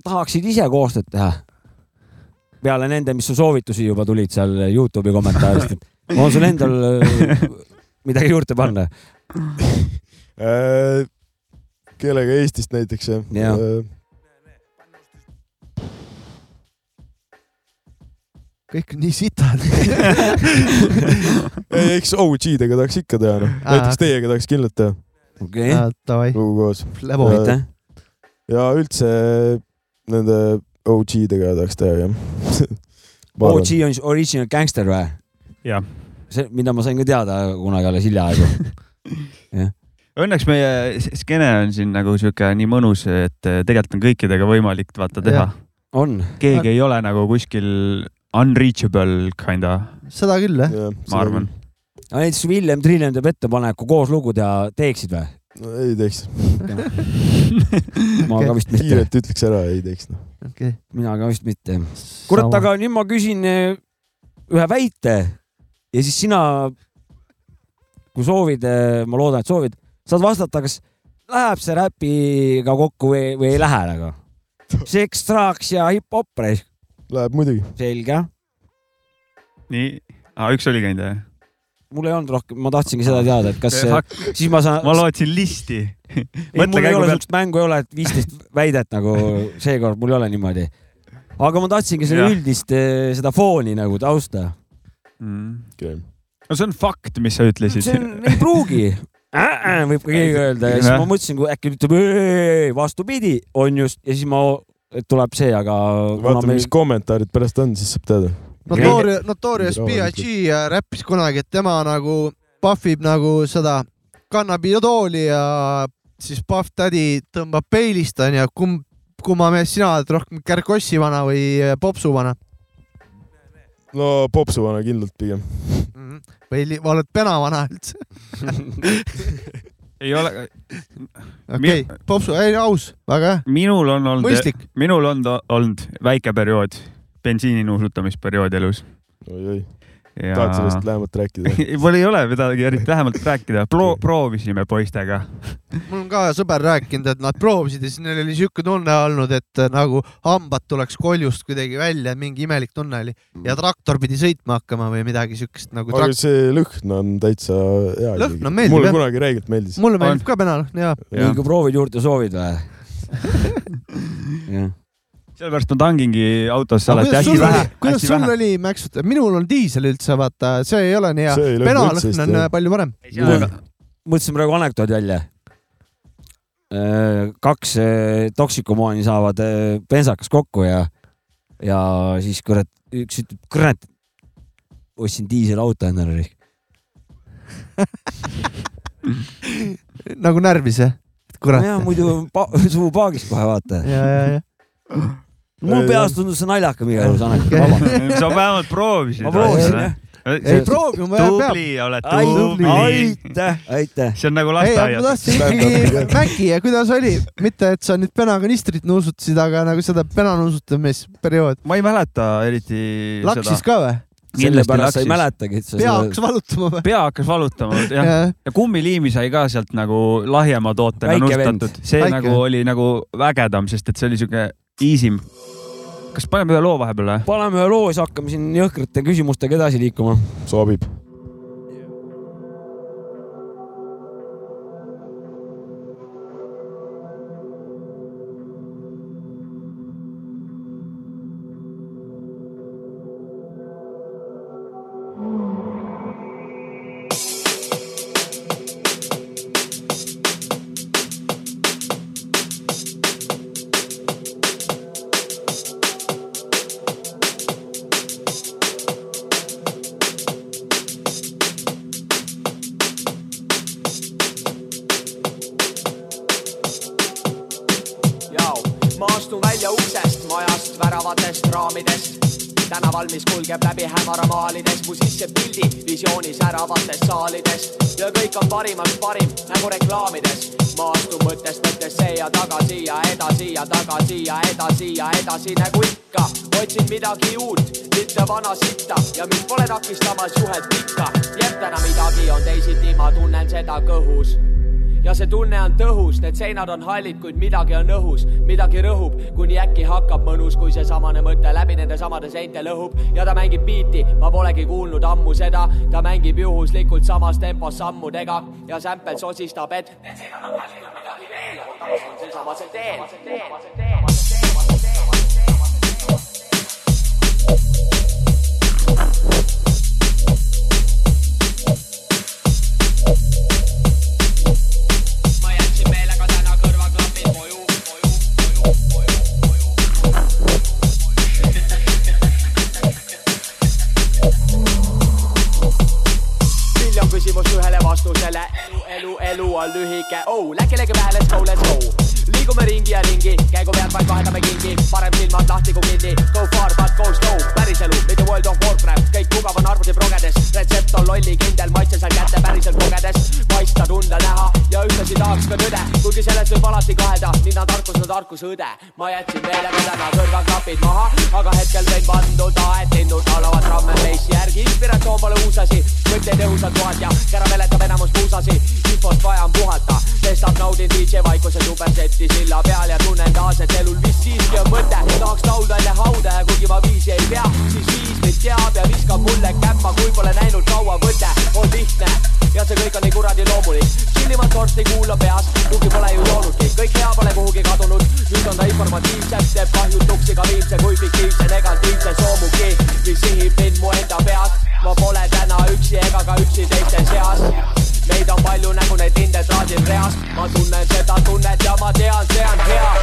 tahaksid ise koostööd teha ? peale nende , mis su soovitusi juba tulid seal Youtube'i kommentaarist , et on sul endal äh, midagi juurde panna ?
Äh, kellega Eestist näiteks
Jaa.
jah ?
kõik on nii sitad .
Äh, ei , eks OG-dega tahaks ikka teha , noh .
Aa.
näiteks teiega tahaks kindlalt teha
okei ,
Äh, Ah, Davai ,
lugu koos .
lebo .
aitäh .
ja üldse äh, nende OG-dega tahaks teha , jah .
OG on siis original gangster või ?
jah .
see , mida ma sain ka teada kunagi alles hiljaaegu .
õnneks meie s- skeene on siin nagu sihuke nii mõnus , et eh, tegelikult on kõikidega võimalik vaata teha
Jah. .
on ,
keegi ei ole nagu kuskil unreachable kinda ,
seda küll , jah .
ma arvan .
aga näiteks Villem Trillem teeb ettepaneku koos lugu teha , teeksid või ?
ei teeks ,
ma ka vist mitte ,
kiirelt ütleks ära , ei teeks , noh .
mina ka vist mitte kurat ,. aga nüüd ma küsin eh, ühe väite ja siis sina , kui soovid , ma loodan , et soovid , saad vastata , kas läheb see räpiga kokku või , või ei lähe nagu . seks , traaks ja hip-hop ,
Läheb muidugi .
selge .
nii , üks oli käinud jah ?
mul ei olnud rohkem , ma tahtsingi seda teada , et kas eh, siis ma saan
ma , lootsin listi .
ei mul
mõtle
ei
käigu
ole
pealt ,
siukest mängu ei ole , et viisteist väidet nagu seekord mul ei ole niimoodi . aga ma tahtsingi seda
Jah.
üldist , seda fooni nagu tausta .
Mm. no
okei .
see on fakt , mis sa ütlesid .
see on , ei pruugi äh, . võib ka keegi öelda ja siis ma mõtlesin , kui äkki ütleb "Ei, vastupidi , on just ja siis ma , tuleb see , aga .
vaatame , mis kommentaarid pärast on , siis saab teada .
Notori- , Notorious
Rahulikult.
B.I.G äh, räppis kunagi , et tema nagu puhvib nagu seda kannabidooli ja siis Puff Daddy tõmbab peilist onju , kumb , kumma mees sina oled rohkem , Kärkossi vana või äh, Popsu vana
no popsuvana kindlalt pigem .
Mhm. või li- oled pena vana üldse ?
ei ole ,
okei , Popsu , ei aus , väga hea ,
minul on olnud ,
mõistlik .
minul on ta- olnud väike periood , bensiini nuusutamisperiood elus .
oi-oi , tahad sellest lähemalt rääkida ?
mul ei ole midagi eriti lähemalt rääkida , proovisime poistega .
mul on ka sõber rääkinud , et nad proovisid ja siis neil oli siuke tunne olnud , et nagu hambad tuleks koljust kuidagi välja , mingi imelik tunne oli
Mm.
ja traktor pidi sõitma hakkama või midagi siukest nagu
aga
traktor .
see lõhn on täitsa hea .
Lõhn on meeldiv,
mulle
jah.
kunagi räigelt meeldis .
mulle meeldib ka penal ja
nii kui proovid juurde soovid või ?
sellepärast ma tangingi autos
Aga
alati
kuidas
hästi
sul oli
vähe ,,
kuidas
hästi
sul
vähe .
oli mäksud , minul on diisel üldse , vaata , see ei ole nii hea .
See ei lõhna üldse
penalõhn
vist,
on
jah.
äh, palju parem .
mõtlesin praegu anekdoodi välja . kaks äh, toksikumaani saavad äh, bensakas kokku ja , ja siis kurat , üks ütleb , kurat , ostsin diiselauto endale .
nagu närvis jah ? kurat .
nojah , muidu pa suu paagis kohe vaata .
ja , ja , ja . Äh,
mu peas tundus see naljakam igal juhul , see anekdoot , vabandust .
sa vähemalt proovisid .
Ma proovisin, jah.
ei proovi , ma pean .
tubli oled ,
tubli.
tubli .
aitäh , aitäh .
see on nagu
ei , aga ma
lasteaias .
tahtsin ikkagi Mäki ja kuidas oli , mitte et sa nüüd penakanistrit nuusutasid , aga nagu seda penanuusutamisperiood .
ma ei mäleta eriti
laksis
seda .
ka või ?
sellepärast sa ei . mäletagi , et sa
pea hakkas valutama või ?
pea hakkas valutama , jah .
ja
ja kummiliimi sai ka sealt nagu lahjema tootena
Väike
nuustatud . see
Väike
Väike. nagu
vend.
oli nagu vägedam , sest et see oli siuke easy m . kas paneme ühe loo vahepeale ?
paneme ühe loo ja siis hakkame siin jõhkrate küsimustega edasi liikuma .
sobib .
jao . ma astun välja uksest , majast , väravatest , raamidest . tänaval , mis kulgeb läbi hämaramaalides , mu sisse pildi visioonis äravatest saalidest ja kõik on parimast parim nagu reklaamides . ma astun mõttest mõttesse ja tagasi ja edasi ja tagasi ja edasi ja edasi nagu ikka . otsin midagi uut , mitte vana sitta ja mind pole takistamas juhet pikka . jääb täna midagi on teisiti , ma tunnen seda kõhus ja see tunne on tõhus , need seinad on hallid , kuid midagi on õhus , midagi rõhub , kuni äkki hakkab mõnus , kui seesamane mõte läbi nende samade seinte lõhub ja ta mängib biiti , ma polegi kuulnud ammu seda , ta mängib juhuslikult samas tempos sammudega ja sämpel sosistab , et need seinad on hallid , on midagi veel , ootamas on seesamasel teel . ma jätsin meelega täna kõrvaklapid koju , koju , koju , koju , koju . miljon küsimust ühele vastusele . elu , elu , elu on lühike , oh , läkki legi pähe , let's go , let's go . liigume ringi ja ringi , käigu pealt vaid vahetame kingi , parem silmad lahti kui kinni . Go far but go slow , päris elu , mitte World of Warcraft , kõik mugav on arvuti progedes . retsept on lollikindel , maitse seal kätte päriselt kogedes . maitsta , tunda , näha ja ühtlasi tahaks ka tõde , kuigi selles võib alati kahelda , nina tarkus on tarkuse õde . ma jätsin meelega täna kõrvaklapid maha , aga hetkel võin vanduda , et linnud laulavad tramme meist järgi . inspiratsioon pole uus asi , mõtteid õhusad kohad ja kära veletab enamus puusasi . infost vaja on puhata , sestap naudin DJ Vaikuse superseti silla peal ja tunnen taas , et elul vist siiski on mõte . tahaks laulda enne hauda ja kuigi ma viisi ei pea , siis viis mind teab ja viskab mulle käppa , kui pole näinud kaua võte . on lihtne ja see kõik on nii kuradi loomulik . chillimat sorti kuulan peas , kuhugi pole ju joonudki , kõik hea pole kuhugi kadunud . nüüd on ta informatiivsem , teeb kahjutuks iga viimse kui fiktiivse negatiivse soomugi , mis sihib mind mu enda peas . ma pole täna üksi ega ka üksi teiste seas . meid on palju nagu neid linde traadil reas , ma tunnen seda tunnet ja ma tean , see on hea .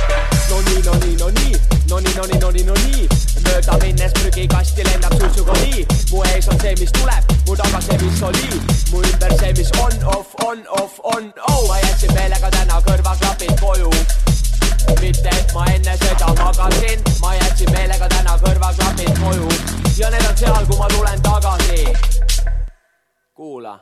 no nii , no nii , no nii , no nii , no nii , no nii , no nii , me mööda minnes prügikasti lendab suitsukoli mu ees on see , mis tuleb , mu taga see , mis oli , mu ümber see , mis on , off , on , off , on , oh , ma jätsin meelega täna kõrvaklapid koju mitte et ma enne seda magasin , ma jätsin meelega täna kõrvaklapid koju ja need on seal , kui ma tulen tagasi . kuula .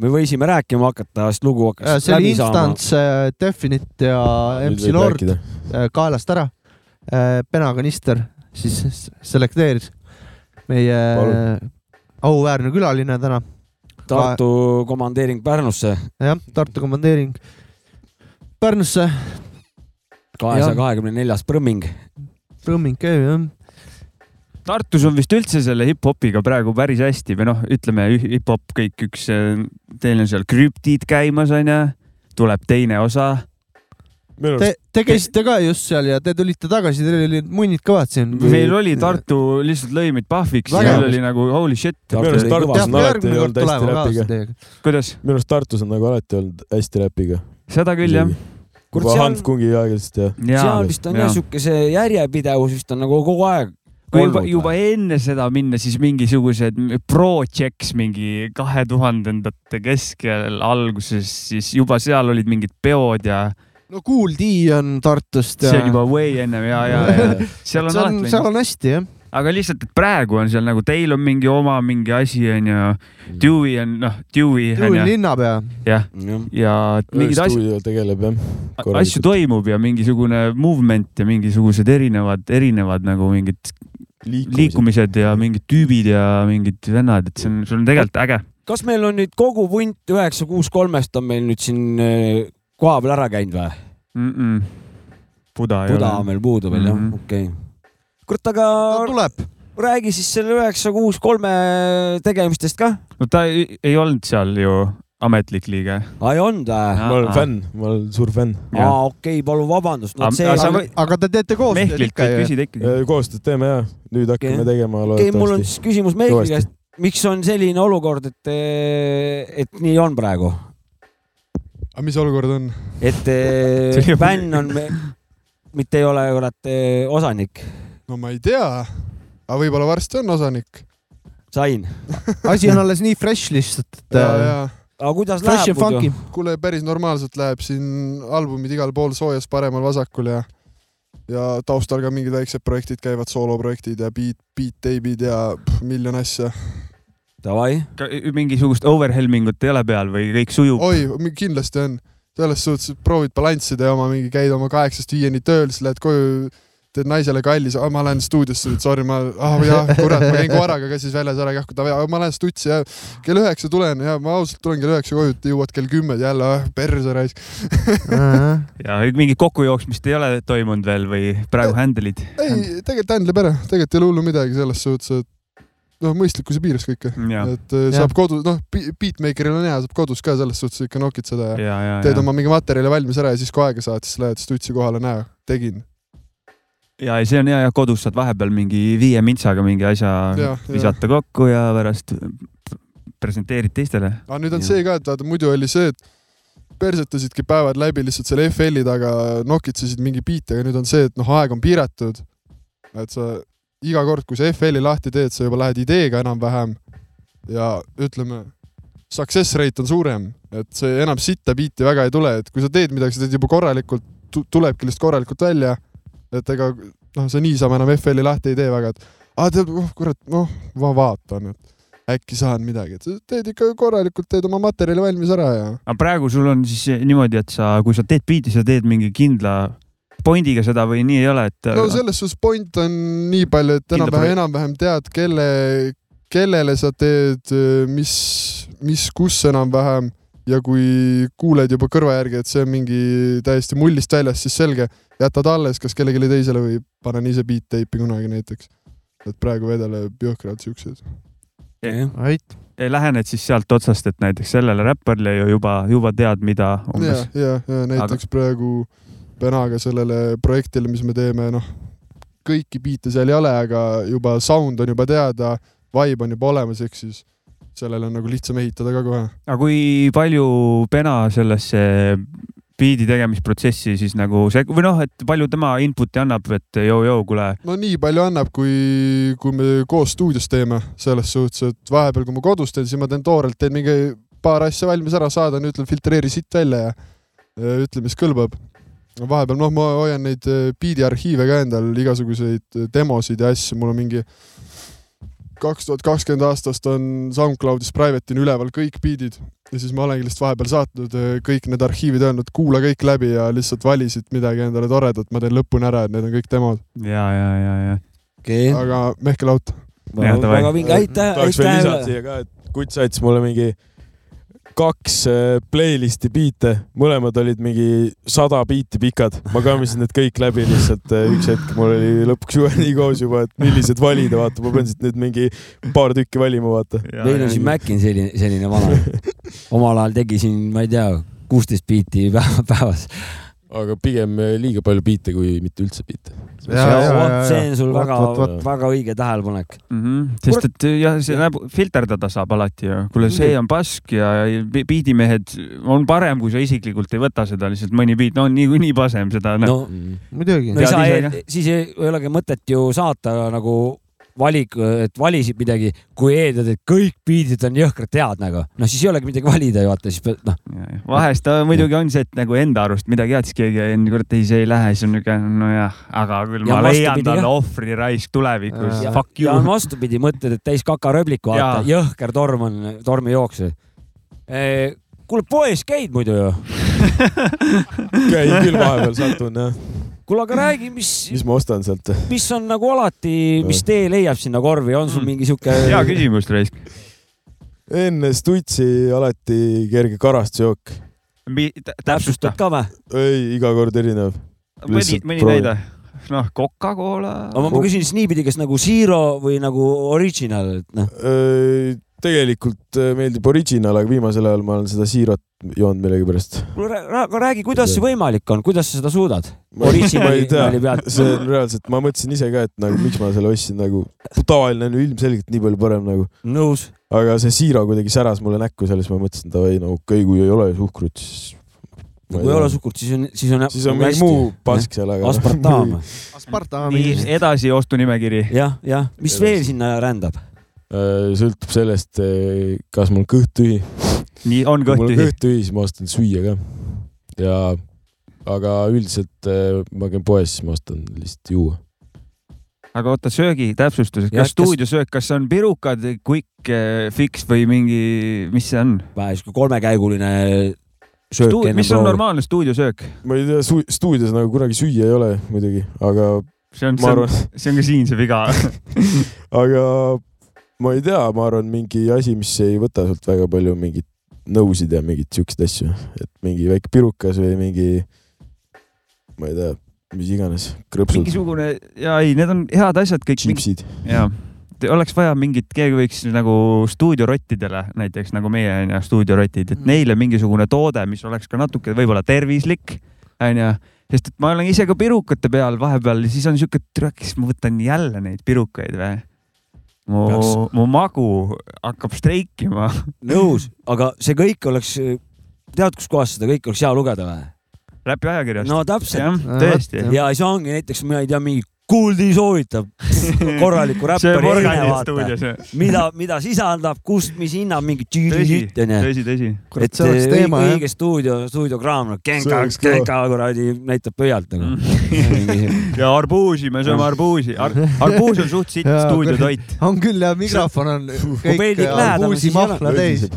me võisime rääkima hakata , sest lugu hakkas
Äh, see oli
läbi saama .
Instants , Definite ja MC Lord äh, kaelast ära . penakanister siis s- selekteeris meie äh,
Palun.
auväärne külaline täna ,
Tartu komandeering Pärnusse
jah , Tartu komandeering Pärnusse ,
kahesaja kahekümne neljas prõmming .
Rõmming käib jah .
Tartus on vist üldse selle hip-hopiga praegu päris hästi või noh , ütleme üh- hip-hop kõik üks , teil on seal krüptid käimas onju , tuleb teine osa .
minu
Te
arust ,
te käisite ka just seal ja te tulite tagasi , teil olid munnid kõvad siin .
meil oli Tartu lihtsalt lõi meid pahviks ja
Väga
meil
hea.
oli nagu holy shit ,
minu arust
Tartu
Tartus
peab
on alati
järgmine kord
olnud hästi
tulema kaasa
räpiga .
teiega .
kuidas ?
minu arust Tartus on nagu alati olnud hästi räpiga .
seda küll jah .
kurat , seal on ,
Hanfkungi aegadest ja
seal vist on jah siukese järjepidevus vist on nagu kogu aeg .
kui juba , juba enne seda minna , siis mingisugused projects mingi kahe tuhandendate keskel alguses , siis juba seal olid mingid peod ja
no Kool D on Tartust ja
see on juba way ennem ja , ja , ja seal on
see on ,
alati
seal
on... ,
on hästi jah .
aga lihtsalt , et praegu on seal nagu teil on mingi oma mingi asi onju , Dewey on noh , Dewey
Juul
onju
linnapea ,
jah , ja mingid asjad ,
stuudio tegeleb jah .
asju toimub ja mingisugune movement ja mingisugused erinevad , erinevad nagu mingid liikumised ja mingid tüübid ja mingid vennad , et see on , see on tegelikult äge .
kas meil on nüüd kogu punt üheksa kuus kolmest on meil nüüd siin eh, koha peal ära käinud või ?
mm . -mm. Buda ei
Buda
ole .
meil puudu veel jah ,
Mhm.
okei . kurat , aga
ta tuleb .
räägi siis selle üheksa kuus kolme tegemistest ka .
no ta ei, ei olnud seal ju ametlik liige .
aa , ei olnud või ?
ma olen . fänn , ma olen suur fänn .
aa , okei , palun vabandust .
Aga- aga sa või-
aga te teete koostööd
Mehklilt
ikka
võib
ju .
küsida ikkagi .
koostööd teeme ja nüüd hakkame
Okei.
tegema
okei , mul on
loodetavasti .
siis küsimus Meikli
Kõvasti.
käest , miks on selline olukord , et , et nii on praegu ,
aga mis olukord on ?
et eh,
See oli-
bänn on , mitte ei ole kurat eh, osanik ,
no ma ei tea , aga võib-olla varsti on osanik .
sain ,
asi on alles nii fresh lihtsalt , et
ja ,
äh,
ja
aga kuidas
fresh ja
läheb muidu
funky ?.
kuule , päris normaalselt läheb siin albumid igal pool soojas paremal-vasakul ja ja taustal ka mingid väiksed projektid käivad , sooloprojektid ja beat , beat teibid ja pff, miljon asja .
Davai ,
mingisugust overhelmingut ei ole peal või kõik sujub oh. ?
oi , kindlasti on . selles suhtes , et proovid balanssida ja oma mingi , käid oma kaheksast viieni tööl , siis lähed koju , teed naisele kalli , ma lähen stuudiosse , sorry , ma ah, , jah , kurat , ma käin koeraga ka siis väljas ära jahkuda , ma lähen stutsi ja kell üheksa tulen ja ma ausalt tulen kell üheksa koju , jõuad kell kümme jälle ah, , perse raisk .
ja mingit kokkujooksmist ei ole toimunud veel või praegu händelid ?
ei , tegelikult händleb ära , tegelikult ei ole hullu midagi selles suhtes , et noh , mõistlikkuse piires kõike .
ja ,
et äh, saab kodus , noh , beatmaker'il on hea , saab kodus ka selles suhtes ikka nokitseda ja, ja
ja , ja ,
teed
ja ,
oma mingi materjali valmis ära ja siis kui aega saad , siis lähed stutsi kohale , näe , tegin .
ja see on hea ja kodus saad vahepeal mingi viie mintsaga mingi asja
Jah, jah.
visata kokku ja pärast presenteerid teistele .
aga nüüd on
Jah.
see ka , et vaata muidu oli see , et persetasidki päevad läbi lihtsalt selle FL-i taga , nokitsesid mingi biite , aga nüüd on see , et noh , aeg on piiratud . et sa iga kord , kui sa FL-i lahti teed , sa juba lähed ideega enam-vähem ja ütleme , success rate on suurem , et see enam sitta biiti väga ei tule , et kui sa teed midagi , sa teed juba korralikult , tulebki lihtsalt korralikult välja . et ega noh , sa niisama enam FL-i lahti ei tee väga , et aa tead , oh kurat , noh , ma vaatan , et äkki saan midagi , et sa teed ikka korralikult , teed oma materjali valmis ära ja
aga praegu sul on siis niimoodi , et sa , kui sa teed biiti , sa teed mingi kindla pointiga seda või nii ei ole , et
no selles suhtes point on nii palju , et
Kindla
enam-vähem ,
projekt-
enam-vähem tead , kelle , kellele sa teed , mis , mis , kus enam-vähem ja kui kuuled juba kõrva järgi , et see on mingi täiesti mullist väljas , siis selge , jätad alles kas kellelegi teisele või panen ise beat teipi kunagi näiteks . et praegu vedeleb jõhkralt siuksed .
ait ,
lähened siis sealt otsast , et näiteks sellele räpparile ju juba , juba tead , mida
ja
umbes ,.
ja , ja näiteks Aga... praegu Venaga sellele projektile , mis me teeme , noh , kõiki biite seal ei ole , aga juba sound on juba teada , vibe on juba olemas , ehk siis sellele on nagu lihtsam ehitada ka kohe .
aga kui palju pena sellesse biidi tegemisprotsessi siis nagu see või noh , et palju tema input'i annab , et joo-joo , kuule ,
no nii palju annab , kui , kui me koos stuudios teeme , selles suhtes , et vahepeal , kui ma kodus teen , siis ma teen toorelt , teen mingi paar asja valmis ära , saadan , ütlen , filtreeri siit välja ja ja ütle , mis kõlbab . vahepeal , noh , ma hoian neid eh, biidi arhiive ka endal , igasuguseid eh, demosid ja asju , mul on mingi kaks tuhat kakskümmend aastast on SoundCloudis private'ina üleval kõik biidid ja siis ma olengi lihtsalt vahepeal saatnud eh, kõik need arhiivid , öelnud kuula kõik läbi ja lihtsalt vali siit midagi endale toredat , ma teen lõpuni ära , et need on kõik demod ,
ja , ja , ja , ja
okei ,
aga Mehkel Aut .
Jah, davai.
väga vinge , aitäh ,
tahaks veel lisada
aitäh .
siia ka , et Kuts saatis mulle mingi kaks äh, playlist'i biite , mõlemad olid mingi sada biiti pikad , ma kammisin need kõik läbi lihtsalt äh, üks hetk , mul oli lõpuks juba nii koos juba , et millised valida , vaata , ma pean siit nüüd mingi paar tükki valima , vaata .
meil on siin Mäkin selline , selline vana . omal ajal tegi siin , ma ei tea , kuusteist biiti päeva , päevas .
aga pigem äh, liiga palju biite kui mitte üldse biite .
Jaa, jaa, jaa,
see on sul
jaa.
väga
Vot, ,
vot, vot.
väga õige tähelepanek .
mm . -hmm. sest et jah , see näeb , filterdada saab alati ju , kuule , see on pask ja ja bi- biidimehed on parem , kui sa isiklikult ei võta seda lihtsalt mõni biit , no on niikuinii pasem seda no. .
no
Mm. muidugi no, .
no ei
Tead
saa e-
ise ka. ,
siis ei ei olegi mõtet ju saata nagu valik , et valisid midagi , kui eeldad , et kõik biidid on jõhkralt head nagu , noh siis ei olegi midagi valida ju vaata , siis pead noh ,
vahest äh, muidugi on see , et nagu enda arust midagi head , siis keegi on , kurat , ei , see ei lähe , siis on niuke , nojah , aga
Ja
küll ja ma leian
vastupidi
talle
ka.
ohvriraisk tulevikus
Ja-
ja. , fuck
ja on
you .
vastupidi , mõtled , et täis kakarööblikku , vaata , jõhker torm on , tormijooksu . kuule , poes käid muidu ju ?
käin küll vahepeal , satun jah .
kuule , aga räägi , mis ,
mis ma ostan sealt ?
mis on nagu alati , mis tee leiab sinna korvi , on sul
Mm.
mingi sihuke ?
hea küsimus , raisk .
enne Stutsi alati kerge karastusjook .
täpsusta
täpsustad , ka või ?
ei , iga kord erinev .
mõni
lihtsalt ,
mõni
proovi.
näide . noh , Coca-Cola .
aga ma küsin siis niipidi , kas nagu zero või nagu original , et noh ,
tegelikult äh, meeldib Original , aga viimasel ajal ma olen seda siirot joonud millegipärast .
kuule rää- rää- aga räägi , kuidas see võimalik on , kuidas sa seda suudad ?
ma ma ei
Originali
tea
nali , pealt.
see on reaalselt , ma mõtlesin ise ka , et nagu miks ma selle ostsin , nagu tavaline on ju ilmselgelt nii palju parem nagu ,
nõus .
aga see siiro kuidagi säras mulle näkku seal , siis ma mõtlesin davai , no okei okay, , kui ei ole suhkrut , siis .
kui ei ole suhkurt , siis on , siis on .
siis on mingi muu . pask seal , aga .
aspartam .,
Aspartami
nii ,
ilmselt .
edasi ostunimekiri .
jah , jah , mis
Edasi.
veel sinna rändab ?
Äh, sõltub sellest , kas mul on kõht tühi .
nii , on
kui mul
kõht
on
tühi .
kõht tühi , siis ma ostan süüa ka . ja , aga üldiselt äh, ma käin poes , siis ma ostan lihtsalt juua .
aga oota , söögi täpsustus ,
Jah,
kas
kas-
stuudiosöök , kas see on pirukad , quick eh, fix või mingi , mis see on ?
vähe sihuke kolmekäiguline söök .
mis on ? normaalne stuudiosöök ?
ma ei tea , stuudios nagu kunagi süüa ei ole muidugi , aga
see on ,
ma arvan ,
see on ka siin see viga .
aga ma ei tea , ma arvan , mingi asi , mis ei võta sealt väga palju mingit nõusid ja mingeid siukseid asju , et mingi väike pirukas või mingi , ma ei tea , mis iganes , krõpsud ,
mingisugune ja ei , need on head asjad kõik .
tšipsid .
ja oleks vaja mingit , keegi võiks nagu stuudiorottidele näiteks nagu meie onju stuudiorotid , et neile mingisugune toode , mis oleks ka natuke võib-olla tervislik onju , sest et ma olen ise ka pirukate peal vahepeal , siis on siuke , et kas ma võtan jälle neid pirukaid või ? mu
Peaks. ,
mu magu hakkab streikima .
nõus , aga see kõik oleks , tead , kuskohast seda kõike oleks hea lugeda või ?
Läpi ajakirjast no, .
no täpselt .
jah ,
Vot,
tõesti .
jah.
ja siis ongi näiteks , ma ei tea , mingi Kuldi soovitab korralikku
see
räppari
Morgani
heine vaata ,
stuudios ,
mida , mida sisaldab , kust , mis hinnab , mingi
tõsi ,
tüüliütt onju .
tõsi , tõsi .
kurat ,
et
see oleks
õige-
teema jah .
õige stuudio , stuudiokraam , noh ,
See
Genka
oleks , kõva.
Genka kuradi näitab pöialt
Mm.
nagu .
ja arbuusi , me sööme arbuusi Ar . arbuus on suht sitt
Jaa,
stuudiotoit .
on küll ja mikrofon on kõik
peldik lähedal,
uusi
siis ei ole.
mahla täis .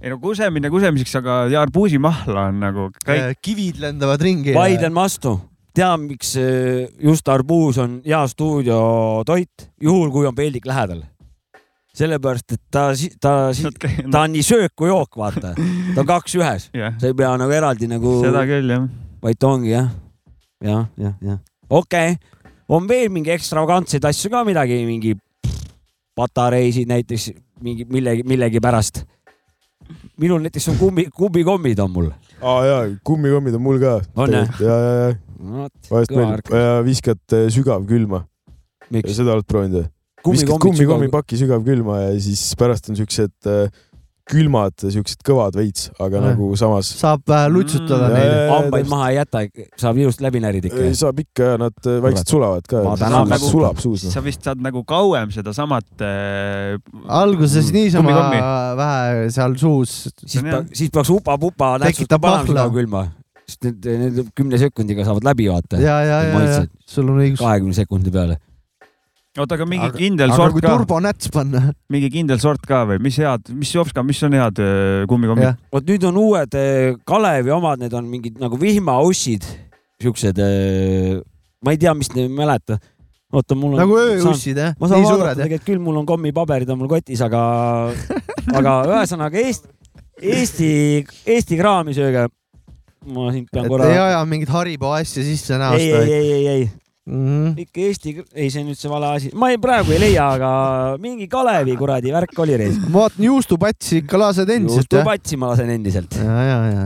ei no kusemine kusemiseks , aga ja arbuusimahla on nagu kõik .
Äh, kivid lendavad ringi .
vaidlen vastu , tean , miks äh, just arbuus on hea stuudiotoit , juhul kui on peldik lähedal . sellepärast , et ta , ta , ta on nii söök kui jook , vaata . ta on kaks ühes ,
jah ,
sa ei pea nagu eraldi nagu ,
seda küll jah .
vaid ta ongi jah , jah , jah , jah . okei okay. , on veel mingi ekstravagantseid asju ka midagi , mingi patareisid näiteks mingi millegi , millegipärast . minul näiteks on kummi , kummikommid on mul .
aa jaa , kummikommid on mul ka .
On, jah?
ja , ja , ja vahest
Kõva
meeldib ja viskad eh, sügavkülma .
miks ?
seda oled proovinud või ? viskad kummikommipaki sügavkülma ja siis pärast on siuksed eh, külmad , siuksed kõvad veits , aga
Jah.
nagu samas .
saab äh, lutsutada
Mm.
neile .
Jaa,
hambaid maha ei jäta , saab ilust läbi närida ikka .
saab ikka ja nad eh, vaikselt sulavad ka
Ma . tänan
väga.
sulab suus noh .
sa vist saad nagu kauem sedasamat äh, .
alguses niisama
kummikommi.
vähe seal suus ,
siis
See on
pea
hea. ,
siis peaks upa-pupa nätsutama
Tekitab
panema
vahla.
sinna külma , sest need , need kümne sekundiga saavad läbi vaata ,
ja , ja , ja , ja
maitsed.
sul on õigus .
kahekümne sekundi peale .
oota , aga mingi
Aga-
kindel
aga
sort
kui
ka ,
turbonäts panna ,
mingi kindel sort ka või , mis head , mis Jopska , mis on head äh, kummikommid
Jah. ?
vot nüüd on uued eh, Kalevi omad , need on mingid nagu vihmaussid , siuksed , ma ei tea , mis neid mäleta . oota , mul on .
nagu ööussid jah ,
ma saan
nii
vaadata
suured jah .
tegelikult küll , mul on kommipaberid on mul kotis , aga , aga ühesõnaga Eesti , Eesti , Eesti kraami sööge . ma siin pean
et ei
korra .
aja mingit Haribo asja sisse
ei , ei ,
näost . Mhm.
ei , ei , ei , ikka Eesti , ei , see on nüüd see vale asi , ma ei, praegu ei leia , aga mingi Kalevi kuradi värk oli reis .
ma vaatan juustupatsi ikka lased endiselt jah .
juustupatsi ma lasen endiselt .
ja , ja , ja .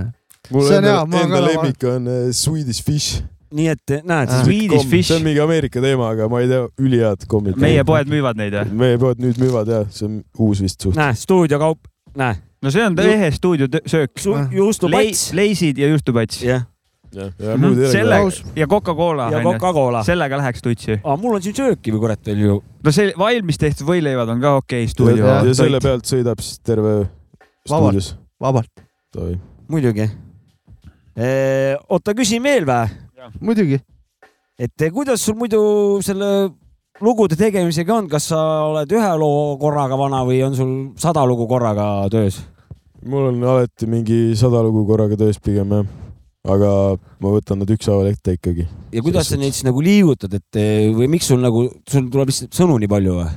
mul
See on hea,
enda
ma ,
enda
ka-
lemmik on eh, Swedish fish .
nii et näed ,
Ah.
siis
Swedish
see on
Fish ,
mingi Ameerika teema , aga ma ei tea , ülihead kommid .
meie poed müüvad neid või ?
meie pood nüüd müüvad ja see on uus vist suht .
näe , stuudiokaup , näe ,
no see on
Ju-
ehe stuudiosöök .
Ah.
juustupats ,
leisid ja juustupats
jah ,
Mhm.
selle .
sellega ja Coca-Cola
ja
onju ,
Coca-Cola .
sellega läheks tutsi .
aga mul on siin sööki või kurat veel ju .
no see valmis tehtud võileivad on ka okei stuudio
ja, ja selle
toit .
pealt sõidab siis terve öö
Vabalt.
stuudios .
vabalt ,
muidugi . oota , küsin veel vä ,
muidugi .
et eh, kuidas sul muidu selle lugude tegemisega on , kas sa oled ühe loo korraga vana või on sul sada lugu korraga töös ?
mul on alati mingi sada lugu korraga töös pigem jah , aga ma võtan nad ükshaaval ette ikkagi .
ja kuidas sa
Selles
neid siis nagu liigutad , et eh, või miks sul nagu , sul tuleb lihtsalt sõnu nii palju või ?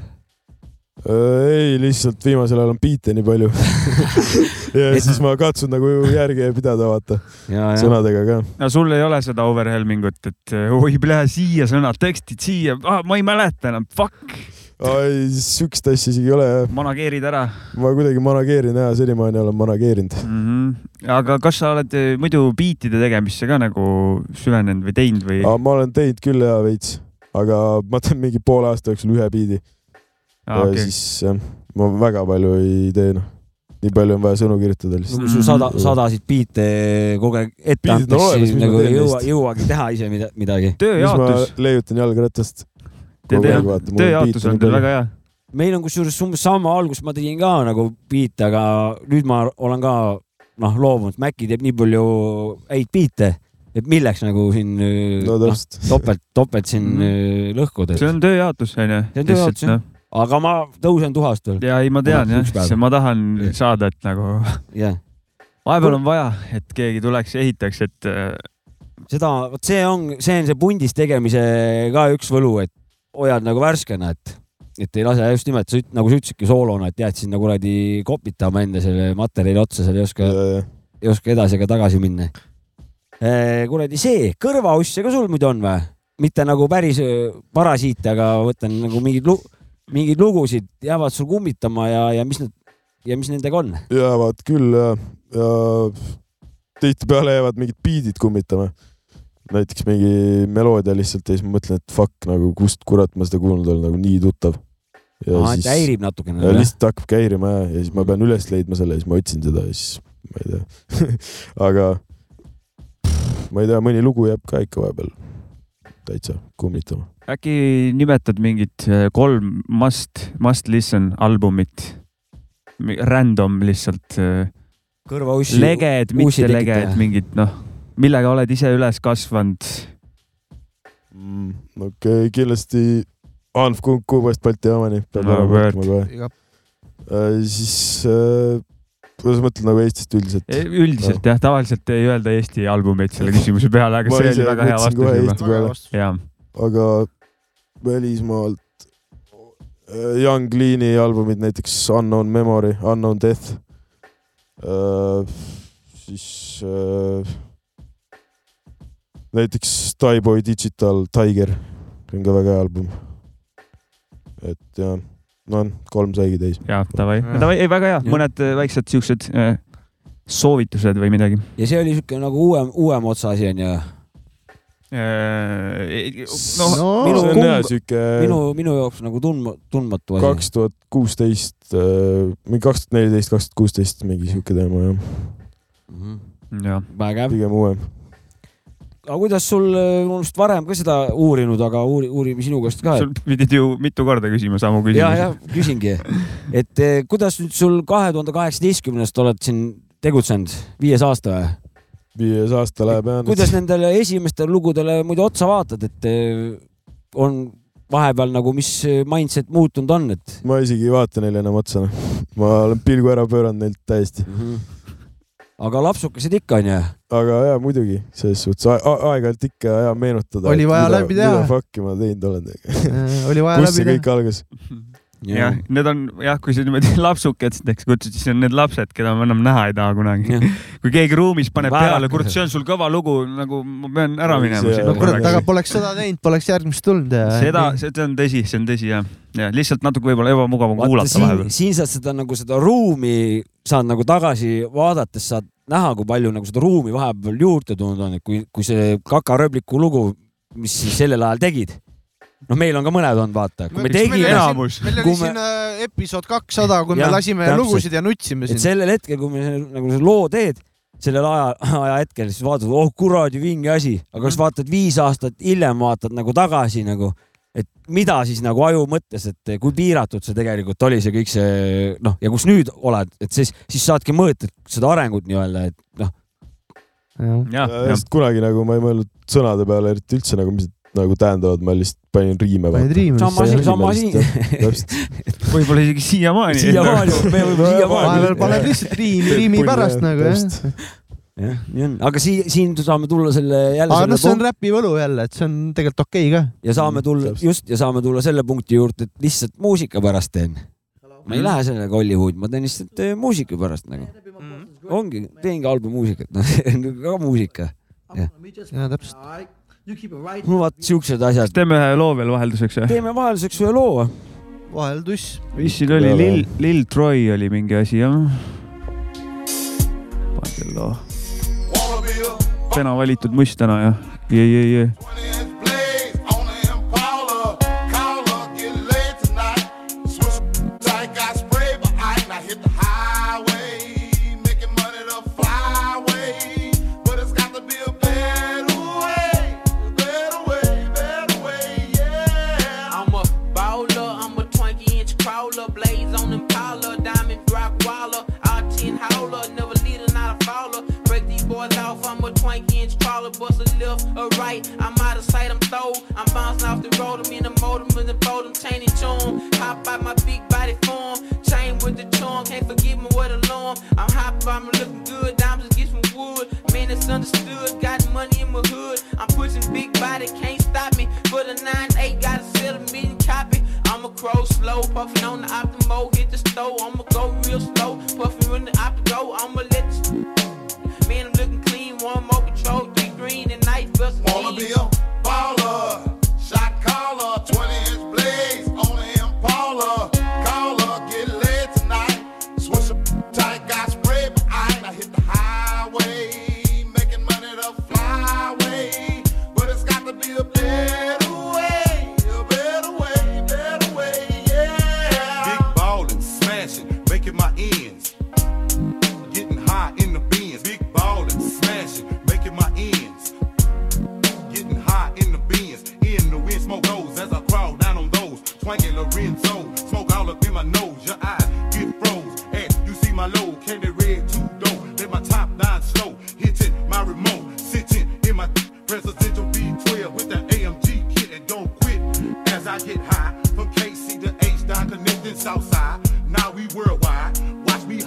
ei , lihtsalt viimasel ajal on biite nii palju . ja
Et-
siis ma katsun nagu järge pidada , vaata ,
ja , ja ,
sõnadega ka .
no sul ei ole seda overhelmingut , et äh, oi , lähe siia sõnad , tekstid siia ah, , ma ei mäleta enam , fuck ,
ei , sihukest asja isegi ei ole jah ,
manageerid ära
ma kuidagi manageerin ja senimaani olen manageerinud .
mm . -hmm. aga kas sa oled äh, muidu biitide tegemisse ka nagu süvenenud või teinud või ?
aga ma olen teinud küll hea veits , aga ma teen mingi poole aasta jooksul ühe biidi ja
Okay.
siis jah , ma väga palju ei tee noh , nii palju on vaja sõnu kirjutada lihtsalt .
nagu sul sada , sadasid biite kogu aeg ette
Biidid Mm. on
antakse ,
olemas,
siis
mis ma
nagu
teen
ei jõua ,
neist?
jõuagi teha ise mida, midagi .
siis ma
tööjaotus ,
leiutan jalgratast . kogu aeg vaatan, mul on
tööjaotus
biite
on
nii
teil
palju.
väga hea .
meil on kusjuures umbes sama algus , ma tegin ka nagu biite , aga nüüd ma olen ka noh , loobunud , Maci teeb nii palju häid biite , et milleks nagu siin
no
no, noh ,
täpselt .
topelt , topelt siin mm. lõhkuda .
see on tööjaotus onju .
See on tööjaotus, jah. aga ma tõusen tuhast veel ,
ja ei , ma tean
Oleks
jah
üks päev. ,
ma tahan
Jah.
saada , et nagu
jah .
vahepeal on vaja , et keegi tuleks ja ehitaks , et äh,
seda , vot see on , see on see pundis tegemise ka üks võlu , et hoiad nagu värskena , et , et ei lase just nimelt , nagu sa ütlesidki soolona , et jääd sinna kuradi kopitama enda selle materjali otsa , seal ei oska , ei oska edasi ega tagasi minna . kuradi see , kõrvausse ka sul muidu on või ? mitte nagu päris öö, parasiit , aga võtan nagu mingeid lu- , mingeid lugusid jäävad sul kummitama ja , ja mis nad ja mis nendega on ?
jäävad küll ja , ja tihtipeale jäävad mingid biidid kummitama . näiteks mingi meloodia lihtsalt ja siis ma mõtlen , et fuck nagu kust kurat ma seda kuulnud olen , nagu nii tuttav . ja
et
siis ,
Ah, häirib natukene . noh.
ja lihtsalt hakkabki häirima ja , ja siis ma pean üles leidma selle ja siis ma otsin seda ja siis ma ei tea , aga ma ei tea , mõni lugu jääb ka ikka vahepeal täitsa kummitama .
äkki nimetad mingit äh, kolm must , must listen albumit ? Random lihtsalt äh,
kõrvaussi .
leged ,
uusi
mitte
tekitaja.
leged , mingid noh , millega oled ise üles kasvanud .
mm, . okei okay, , kindlasti Hanf Kunk Kuubast Balti jaamani peab
No
ära
vot.
võtma kohe . siis äh, kuidas ma mõtlen nagu Eestist üldiselt ?
E, üldiselt jah , tavaliselt ei öelda Eesti albumeid selle küsimuse peale , aga
Ma
see
ise
oli väga hea
mõtlesin kohe
vastus juba
Eesti peale. .
jaa ,
aga välismaalt äh, Young Lean'i albumid , näiteks Unknown Memory , Unknown Death . siis äh, näiteks Tyboy Digital Tiger , see on ka väga hea album . et ja , no on kolm saigi täis .
ja davai
Jah. ,
davai , ei väga hea ,
Jah.
mõned äh, väiksed siuksed äh, soovitused või midagi .
ja see oli siuke nagu uuem , uuem otsa asi onju .
noh ,
no,
minu-
see on
kumb-
hea siuke
minu , minu jaoks nagu tundma- , tundmatu asi .
kaks tuhat kuusteist , mingi kaks tuhat neliteist , kaks tuhat kuusteist mingi siuke teema jah ,
jah ,
Mhm. vägev .
pigem uuem .
aga kuidas sul , ma olen vist varem ka seda uurinud , aga uuri- , uurime sinu käest ka .
sul pidid ju mitu korda küsima samu
ja , ja
küsimusi .
küsingi , et eh, kuidas nüüd sul kahe tuhande kaheksateistkümnest oled siin tegutsenud , viies aasta või ?
viies aasta läheb jah .
kuidas nendele esimestele lugudele muidu otsa vaatad , et eh, on vahepeal nagu , mis mindset muutunud on , et
ma isegi ei vaata neile enam otsa , noh . ma olen pilgu ära pööranud neilt täiesti .
aga lapsukesed ikka onju .
aga jaa , muidugi , selles suhtes a- a- aeg-ajalt ikka hea meenutada .
Oli vaja läbi teha.
mida fuck'i ma teinud olen .
oli vaja
kust see
läbi
kõik algas ?
jah , need on jah , kui sa niimoodi lapsukesteks kutsud , siis on need lapsed , keda ma enam näha ei taha kunagi . kui keegi ruumis paneb
Väärakas.
peale , kurat , see on sul kõva lugu , nagu ma pean ära minema
See-
siit
no kurat ,
Korraks.
aga
korraks.
poleks seda teinud , poleks järgmist tulnud ja .
seda , see on tõsi , see on tõsi jah , ja lihtsalt natuke võib-olla ebamugav on
vaata
kuulata
siin ,
vahepeal .
siin saad seda nagu seda ruumi saad nagu tagasi vaadates saad näha , kui palju nagu seda ruumi vahepeal juurde tulnud on , et kui , kui see kakarööbliku lugu , mis siis sellel ajal tegid . noh , meil on ka mõned olnud , vaata , kui me
Miks meil
tegime ,
enam- enamus.
meil oli
Kui me-
siin äh, episood kakssada , kui me
Jah,
lasime
täpselt.
lugusid ja nutsime
et
siin .
sellel hetkel , kui me selle- nagu selle loo teed , sellel aja , ajahetkel siis vaatad , oh kuradi vinge asi , aga kas vaatad viis aastat hiljem , vaatad nagu tagasi nagu , et mida siis nagu aju mõttes , et kui piiratud see tegelikult oli , see kõik see noh , ja kus nüüd oled , et siis , siis saadki mõõta seda arengut nii-öelda , et noh ,
Ah, jah , jah ,
sest kunagi nagu ma ei mõelnud sõnade peale eriti üldse nagu , mis need nagu tähendavad , ma lihtsalt panin riime .
panid riimi
sama asi , sama asi .
täpselt .
võib-olla isegi siiamaani .
siiamaani , me võime siiamaani .
vahepeal paned lihtsalt riimi , riimi pärast nagu jah .
jah , nii on , aga siin , siin saame tulla selle jälle
aga
selle
noh , see on räpi võlu jälle , et see on tegelikult okei ka .
ja saame tulla
Mm, Täpselt.
just ja saame tulla selle punkti juurde , et lihtsalt muusika pärast teen . ma ei lähe sellega Hollywoodi , ma teen lihtsalt eh, muusika pärast nagu . ongi , teengi halba muusikat , noh see on ka muusika .
jaa , täpselt .
no vot siuksed asjad .
teeme ühe loo veel vahelduseks või ?
teeme vahelduseks ühe loo .
vahel tuss .
mis siin oli ,
Peale.
Lil , Lil Troy oli mingi asi jah ? pane selle loo . täna valitud must täna jah , jee , jee , jee .
I'm a bowler, I'm a 20 inch crawler, blaze on Impala, diamond rock waller, out 10 howler, never leader, not a follower. Break these boys off, I'm a 20 inch crawler, bust a left, a right, I'm out of sight, I'm throw, I'm bouncing off the road, I'm in the motor, in the fold, I'm chaining chum, hop out my big body form, chain with the charm, can't forgive me what alarm, I'm hop, I'm looking good, diamonds get some wood, man, it's understood, got money in my hood, I'm pushing big body, can't stop me, for the 9-8, gotta sell a million copy, I'ma crow slow, puffin' on the optimo, hit the stove, I'ma go real slow, puffin' on the optigo, I'ma let this Man, I'm looking clean. One more control, three green and night bust. Wanna be a
Oh,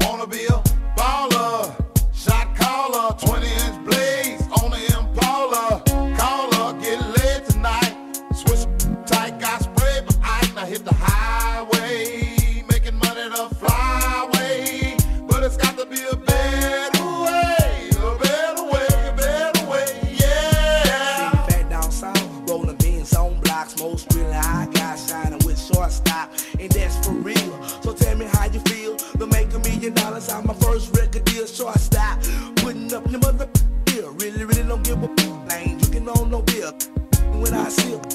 Wanna be a baller, shot caller,
the highway, making money the flyway. But it's got to be a better way, a better way, a better way, yeah.
City fat down south, rolling beans on blocks. Most really, I got shining with short stock, and that's for real. So tell me how you feel. To make a million dollars out my first record deal, short stock. Putting up your mother bill. Really, really don't give a f- I ain't drinking on no beer. When I sip,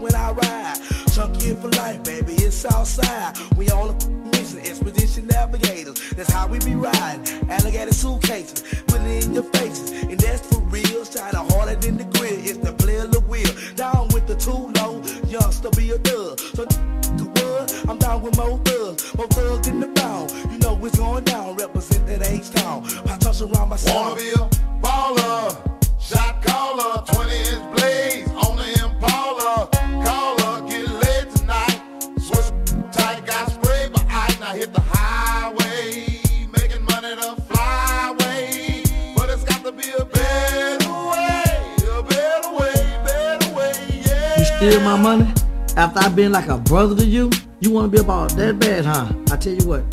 when I ride, chunky for life, baby. It's outside. We on a mission, expedition navigators. That's how we be riding. Alligator suitcases, putting it in your faces, and that's for real. Shining harder than the grill. It's the player the wheel. Down with the too low, youngster be a thug. So the world, I'm down with more thugs, more thugs in the bound. You know it's going down. Represent that H town. I touch around my
Wanna
side.
be a baller, shot caller, 20 inch blades on the Impala. Caller, get laid tonight. Swiss tight, got sprayed by ice. Now hit the highway, making money the flyway. But it's got to be a better way, a better way, better way, yeah.
You steal my money after I've been like a brother to you? You want to be about that bad, huh? I tell you what,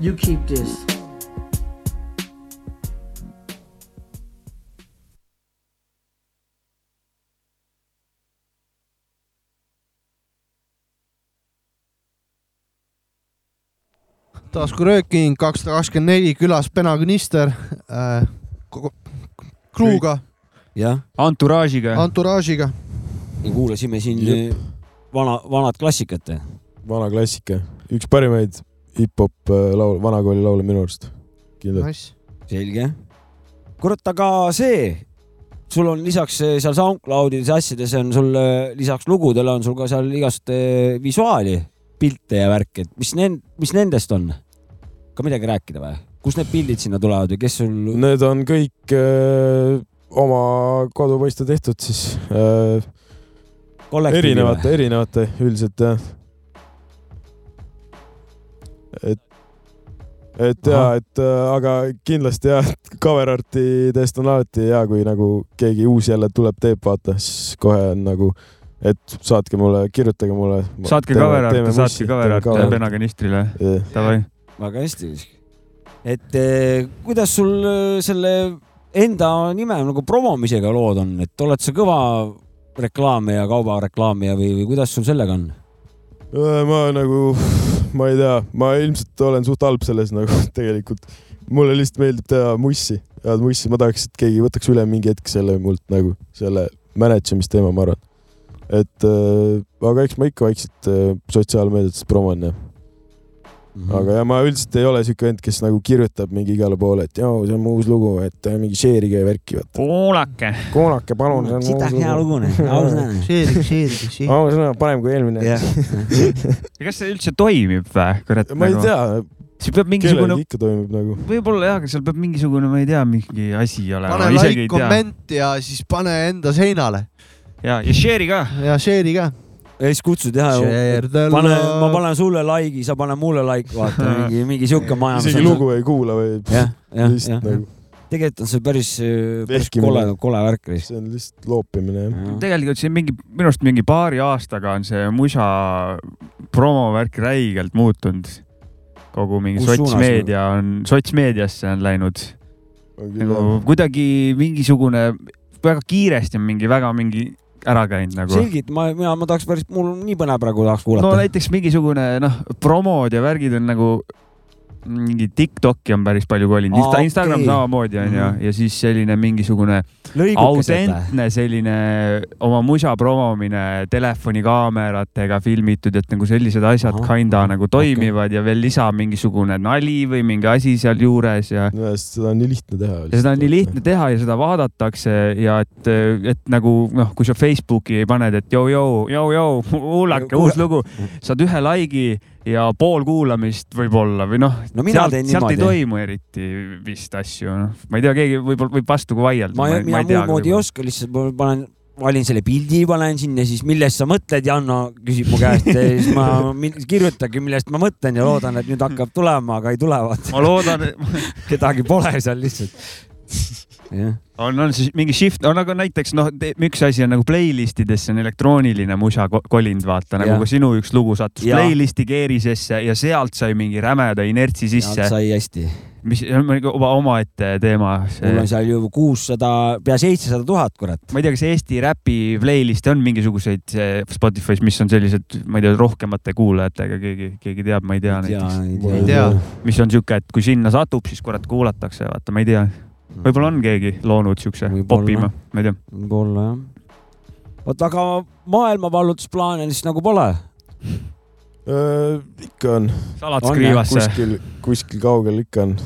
you keep this.
taskurööking kakssada kakskümmend neli külas Pena Knister äh, . kruuga ,
jah ,
entourage'iga .
anturaažiga .
kuulasime siin
Jep.
vana , vanad klassikat .
vana klassika , üks parimaid hip-hop äh, laul , vanakooli laule minu arust . kindlalt .
Nice.
selge . kurat , aga see , sul on lisaks eh, seal SoundCloudides ja asjades on sul äh, lisaks lugudele on sul ka seal igast äh, visuaali , pilte ja värki , et mis nend- , mis nendest on ? ka midagi rääkida või ? kust need pildid sinna tulevad või kes sul ,
Need on kõik äh, oma kodupoiste tehtud siis äh,
kollektiivi või ?
erinevate , erinevate üldiselt jah . et , et ja , et äh, aga kindlasti jah , cover artidest on alati hea , kui nagu keegi uus jälle tuleb , teeb , vaata , siis kohe on nagu , et saatke mulle , kirjutage mulle .
saatke cover art'e , saatke cover art'e . penaganistrile , davai .
väga hästi . et eh, kuidas sul eh, selle enda nime nagu promomisega lood on , et oled sa kõva reklaamija , kaubareklaamija või , või kuidas sul sellega on ?
ma nagu , ma ei tea , ma ilmselt olen suht halb selles nagu tegelikult . mulle lihtsalt meeldib teha mussi , head mussi , ma tahaks , et keegi võtaks üle mingi hetk selle mult nagu selle manage imisteema , ma arvan . et äh, aga eks ma ikka vaikselt äh, sotsiaalmeediates promon ja , aga ja ma üldiselt ei ole siuke vend , kes nagu kirjutab mingi igale poole , et joo , see on mu uus lugu , et äh, mingi share'ige ja värki , vaata .
kuulake .
kuulake palun , see on mu
sita
uus
hea
lugu .
lugu , ausõnaga .
seelik , seelik , seelik .
ausõnaga parem kui eelmine
jah .
kas see üldse toimib või , kurat ?
ma ei . tea ,
siin peab mingisugune
kellelgi , ikka toimib nagu .
võib-olla jah , aga seal peab mingisugune , ma ei tea , mingi asi olema
pane .
isegi
like ,
ei tea .
komment ja siis pane enda seinale
ja , ja share'i ka .
ja share'i ka .
ja siis kutsud
Äh,
jah .
Share the
pane , ma
love.
panen sulle like'i , sa pane mulle like , vaata mingi , mingi siuke majandus .
isegi . lugu ei kuula või
jah , jah ,
lihtsalt
jah .
nagu ,
tegelikult on see päris , päris
Vehkimine.
kole , kole värk vist .
see on lihtsalt loopimine jah .
tegelikult siin mingi , minu arust mingi paari aastaga on see musa promovärk räigelt muutunud . kogu mingi
Kus suunas?
sotsmeedia on , sotsmeediasse on läinud
on küll jah
nagu . kuidagi mingisugune , väga kiiresti on mingi väga mingi ära käinud nagu .
selgelt , ma , mina , ma tahaks päris , mul on nii põnev praegu tahaks
no
kuulata .
näiteks mingisugune noh , promod ja värgid on nagu mingi Tiktoki on päris palju kolinud
Aa,
Insta , Instagram
okei.
okay. samamoodi onju ja,
Mhm.
ja siis selline mingisugune
lõigukesed või ?
autentne selline oma musa promomine telefonikaameratega filmitud , et nagu sellised asjad
Ahah.
kinda nagu toimivad okay. ja veel lisa mingisugune nali või mingi asi sealjuures ja
minu meelest seda on nii lihtne teha .
ja seda on nii lihtne . teha ja seda vaadatakse ja et , et nagu noh , kui sa Facebooki paned , et jõu-jõu , jõu-jõu , kuulake uus lugu , saad ühe like'i ja pool kuulamist võib-olla või noh ,
no mina
sealt ,
teen
sealt ei
niimoodi .
toimu eriti vist asju , noh , ma ei tea , keegi võib-olla võib vastu ka vaielda .
ma , mina muud moodi ei . oska , lihtsalt ma panen , valin selle pildi , panen sinna , siis millest sa mõtled , Janno küsib mu käest ja siis ma min- kirjutangi , millest ma mõtlen ja loodan , et nüüd hakkab tulema , aga ei tule , vaata .
ma loodan ,
kedagi pole seal lihtsalt . jah .
on , on siis mingi shift , on aga näiteks noh , üks asi on nagu playlist idesse on elektrooniline musa ko- kolinud , vaata nagu
Jah.
ka sinu üks lugu sattus
Jah.
playlist'i keerisesse ja sealt sai mingi rämeda inertsi sisse .
sai hästi .
mis , see on nagu oma , omaette teema .
mul on seal ju kuussada , pea seitsesada tuhat , kurat .
ma ei tea , kas Eesti räpi playlist'e on mingisuguseid eh, Spotify's , mis on sellised , ma ei tea , rohkemate kuulajatega , keegi , keegi teab , ma ei tea
Ei tea,
näiteks .
ei tea. Ei tea.
mis on siuke , et kui sinna satub , siis kurat kuulatakse , vaata , ma ei tea . võib-olla on keegi loonud siukse popima , ma ei tea .
võib-olla jah . vot aga maailmavallutusplaane siis nagu pole .
Äh, ikka on .
Salad skriivasse.
kuskil , kuskil kaugel ikka on .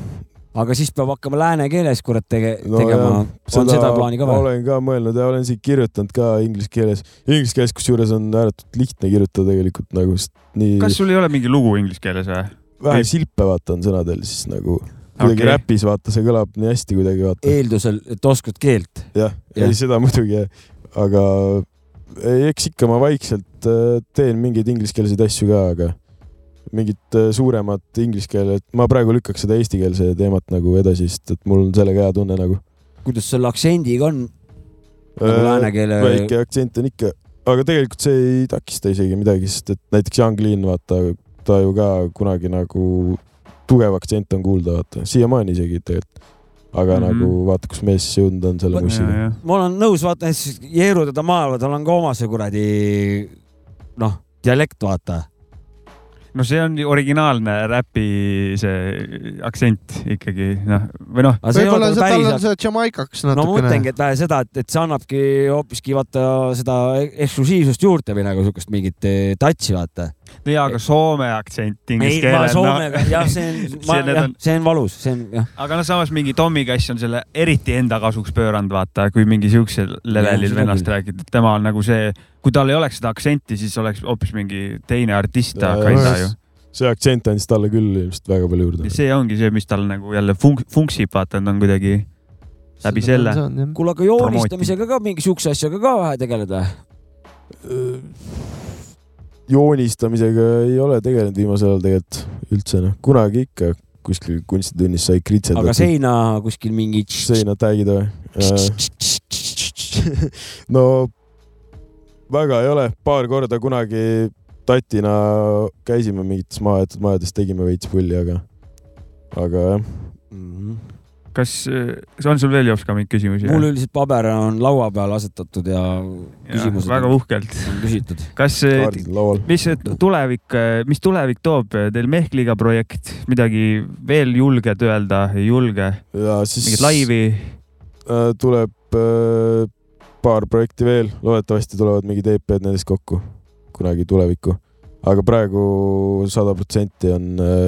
aga siis peab hakkama lääne keeles kurat tege- , tegema no, . on seda plaani ka või ?
olen ka mõelnud ja olen isegi kirjutanud ka inglise keeles . Inglise keeles , kusjuures on ääretult lihtne kirjutada tegelikult nagu , sest nii
kas sul ei ole mingi lugu inglise keeles või ?
vähe silpe vaata on sõnadel siis nagu . kuidagi
Okei.
okay. räpis vaata , see kõlab nii hästi kuidagi vaata .
eeldusel , et oskad keelt .
jah ,
Jah.
ei seda muidugi , aga ei, eks ikka ma vaikselt äh, teen mingeid ingliskeelseid asju ka , aga mingit äh, suuremat inglise keele , ma praegu lükkaks seda eestikeelse teemat nagu edasi , sest et mul on sellega hea tunne nagu .
kuidas selle aktsendiga on ? nagu
Äh,
lääne keele .
väike aktsent on ikka , aga tegelikult see ei takista isegi midagi , sest et näiteks Young Lean , vaata , ta ju ka kunagi nagu tugev aktsent on kuulda , vaata , siiamaani isegi tegelikult . aga mm
Mhm.
-hmm. nagu vaata , kus mees jõudnud on selle mussiga .
ma olen nõus , vaata näiteks Jeerutada maailma , tal on ka oma see kuradi noh , dialekt , vaata .
no see on ju originaalne räpi see aktsent ikkagi noh , või noh .
Aga see ei ole
võib-olla see-
päris
tal on
ak-
see Jamaikaks
no ma
natukene .
mõtlengi , et vähe seda , et , et see annabki hoopiski vaata seda e- eksklusiivsust juurde või nagu siukest mingit eh, touch'i vaata .
no jaa , aga soome aktsent
ei
inglise ,
ma
keeles .
Soomega , jah , see on , ma
need
jah
on- ,
see on valus , see on jah .
aga no samas mingi Tommy Cash on selle eriti enda kasuks pööranud , vaata , kui mingi siuksel levelil
seda
vennast
küll.
räägid , et tema on nagu see , kui tal ei oleks seda aktsenti , siis oleks hoopis mingi teine artist , aga ei saa ju .
see aktsent andis talle küll ilmselt väga palju juurde .
see ongi see , mis tal nagu jälle funk- , funksib , vaata , ta on kuidagi läbi selle .
kuule , aga joonistamisega ka mingi siukse asjaga ka vähe tegeleda .
joonistamisega ei ole tegelenud viimasel ajal tegelikult üldse noh , kunagi ikka kuskil kunstitunnis sai kritsendatud .
aga seina kuskil mingi .
seina tag'id või ? no väga ei ole , paar korda kunagi tatina käisime mingites majatud majades , tegime veits pulli , aga , aga jah ,
Mhm.
kas , kas on sul veel Jops ka mingeid küsimusi ?
mul üldiselt paber on laua peal asetatud ja küsimused .
väga uhkelt .
on küsitud .
kas ,
kaardid laual .
mis see tulevik , mis tulevik toob äh, teil Mehkliga projekt , midagi veel julged öelda , ei julge ,
ja siis
mingit laivi ?
äh, tuleb äh, paar projekti veel , loodetavasti tulevad mingid EP-d nendest kokku kunagi tulevikku , aga praegu sada protsenti on äh,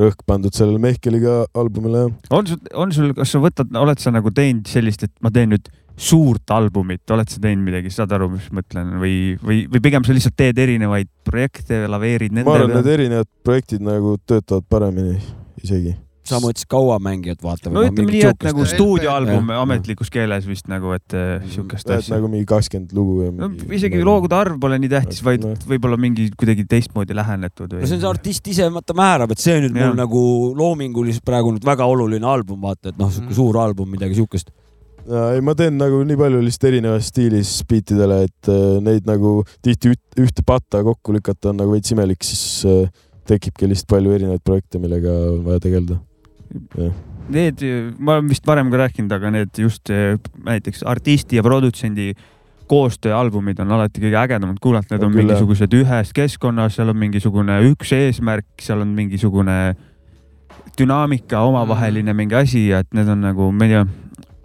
rõhk pandud sellele Mehkeliga albumile jah .
on sul , on sul , kas sa võtad , oled sa nagu teinud sellist , et ma teen nüüd suurt albumit , oled sa teinud midagi , saad aru , mis ma mõtlen või , või , või pigem sa lihtsalt teed erinevaid projekte , laveerid nende
ma arvan , need erinevad projektid nagu töötavad paremini isegi .
sa mõtlesid kauamängijat vaata
no
või ?
ütleme nii , et nagu
siukest-
stuudioalbum
Jah.
ametlikus keeles vist nagu , et eh, siukest
et
asja .
nagu mingi kakskümmend lugu ja
no
mingi, nagu- noh.
isegi loogude arv pole nii tähtis , vaid
Nojah.
võib-olla mingi kuidagi teistmoodi lähenetud
no see on see
või ?
artist ise vaata määrab , et see on nüüd
Jah.
mul nagu loominguliselt praegu nüüd väga oluline album , vaata , et noh , sihuke
Mhm.
suur album , midagi siukest .
Ja ei , ma teen nagu nii palju lihtsalt erinevas stiilis biitidele , et äh, neid nagu tihti üht, ühte patta kokku lükata on nagu veits imelik , siis äh, tekibki lihtsalt palju erinevaid projekte , millega on vaja tegeleda .
Need , ma olen vist varem ka rääkinud , aga need just eh, näiteks artisti ja produtsendi koostööalbumid on alati kõige ägedamad kuulata , need
On
on
küll, jah.
mingisugused ühes keskkonnas , seal on mingisugune üks eesmärk , seal on mingisugune dünaamika
Mm.
omavaheline mingi asi ja et need on nagu , ma ei tea ,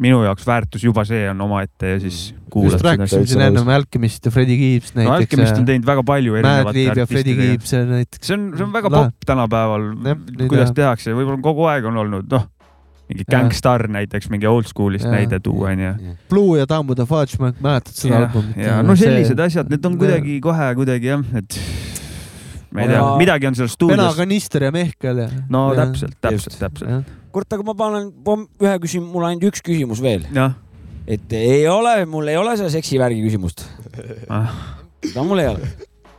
minu jaoks väärtus juba see on omaette ja siis kuulad
just
seda asja .
rääkisime siin ennem Alchemist ja Freddie Gibbs
no Alkemist on
näiteks .
teinud väga palju
Mad Lib
erinevate
ja Freddie
artistidega .
Gibbs ja näiteks .
see on , see on väga
Lahe.
popp tänapäeval
Jah, , nii
kuidas
ta-
tehakse , võib-olla kogu aeg on olnud , noh , mingi
Jah.
Gangstar näiteks , mingi oldschool'ist
Jah.
näide tuua , onju .
Blue ja Tammu the Fudge , ma mäletan seda albumit .
ja no sellised asjad , need on kuidagi kohe kuidagi jah , et ma ei tea
Aga- ,
midagi on seal
Vene
stuudios .
kanister ja Mehkel ja .
no
ja.
täpselt , täpselt , täpselt .
kurat , aga ma panen pomm- ühe küsimuse , mul on ainult üks küsimus veel ,
jah ,
et ei ole , mul ei ole seda seksivärgi küsimust .
Ah.
seda mul ei ole .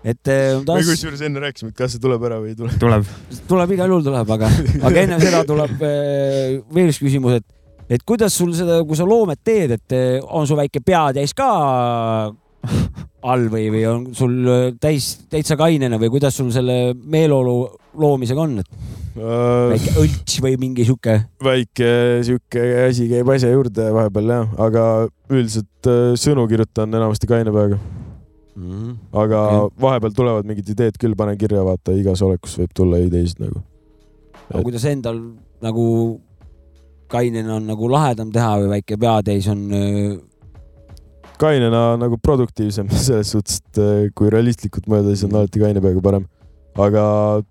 et eh, ma
me
tahaks ,
kusjuures enne rääkisime , et kas see tuleb ära või ei tule .
tuleb .
tuleb igal juhul tuleb , aga , aga enne seda tuleb eh, äh, veel üks küsimus , et et kuidas sul seda , kui sa loomet teed , et eh, on su väike peatäis ka all või , või on sul äh, täis , täitsa kainena või kuidas sul selle meeleolu loomisega on , et väike õlts või mingi sihuke ?
Äh, väike sihuke asi käib asja juurde vahepeal jah , aga üldiselt äh, sõnu kirjutan enamasti kaine peaga . aga vahepeal tulevad mingid ideed küll , panen kirja , vaata igas olekus võib tulla ideesid nagu .
aga kuidas endal nagu kainena on nagu lahedam teha või väike peatäis on äh, öö,
kainena nagu produktiivsem selles suhtes , et äh, kui realistlikult mõelda , siis
Mm.
on alati kaine peaga parem . aga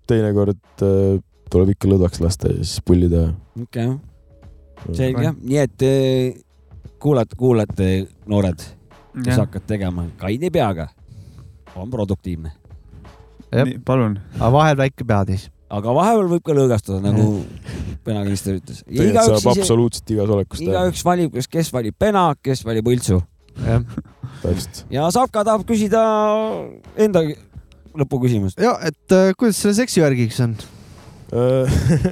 teinekord äh, tuleb ikka lõdvaks lasta ja siis pullida . äh,
okei okay. , selge , nii et eh, kuulate , kuulate , äh, noored , kes
Jah.
hakkad tegema kaine peaga , on produktiivne ,
palun .
aga vahel väike peatäis .
aga vahepeal võib ka lõõgastuda , nagu penakangister ütles .
tegelikult saab absoluutselt igas olekus teha .
igaüks valib , kas , kes valib pena , kes valib õltsu
jah ,
täpselt .
ja Savka tahab küsida enda lõpuküsimust .
ja et äh, kuidas selle seksi värgiks on ?
Äh,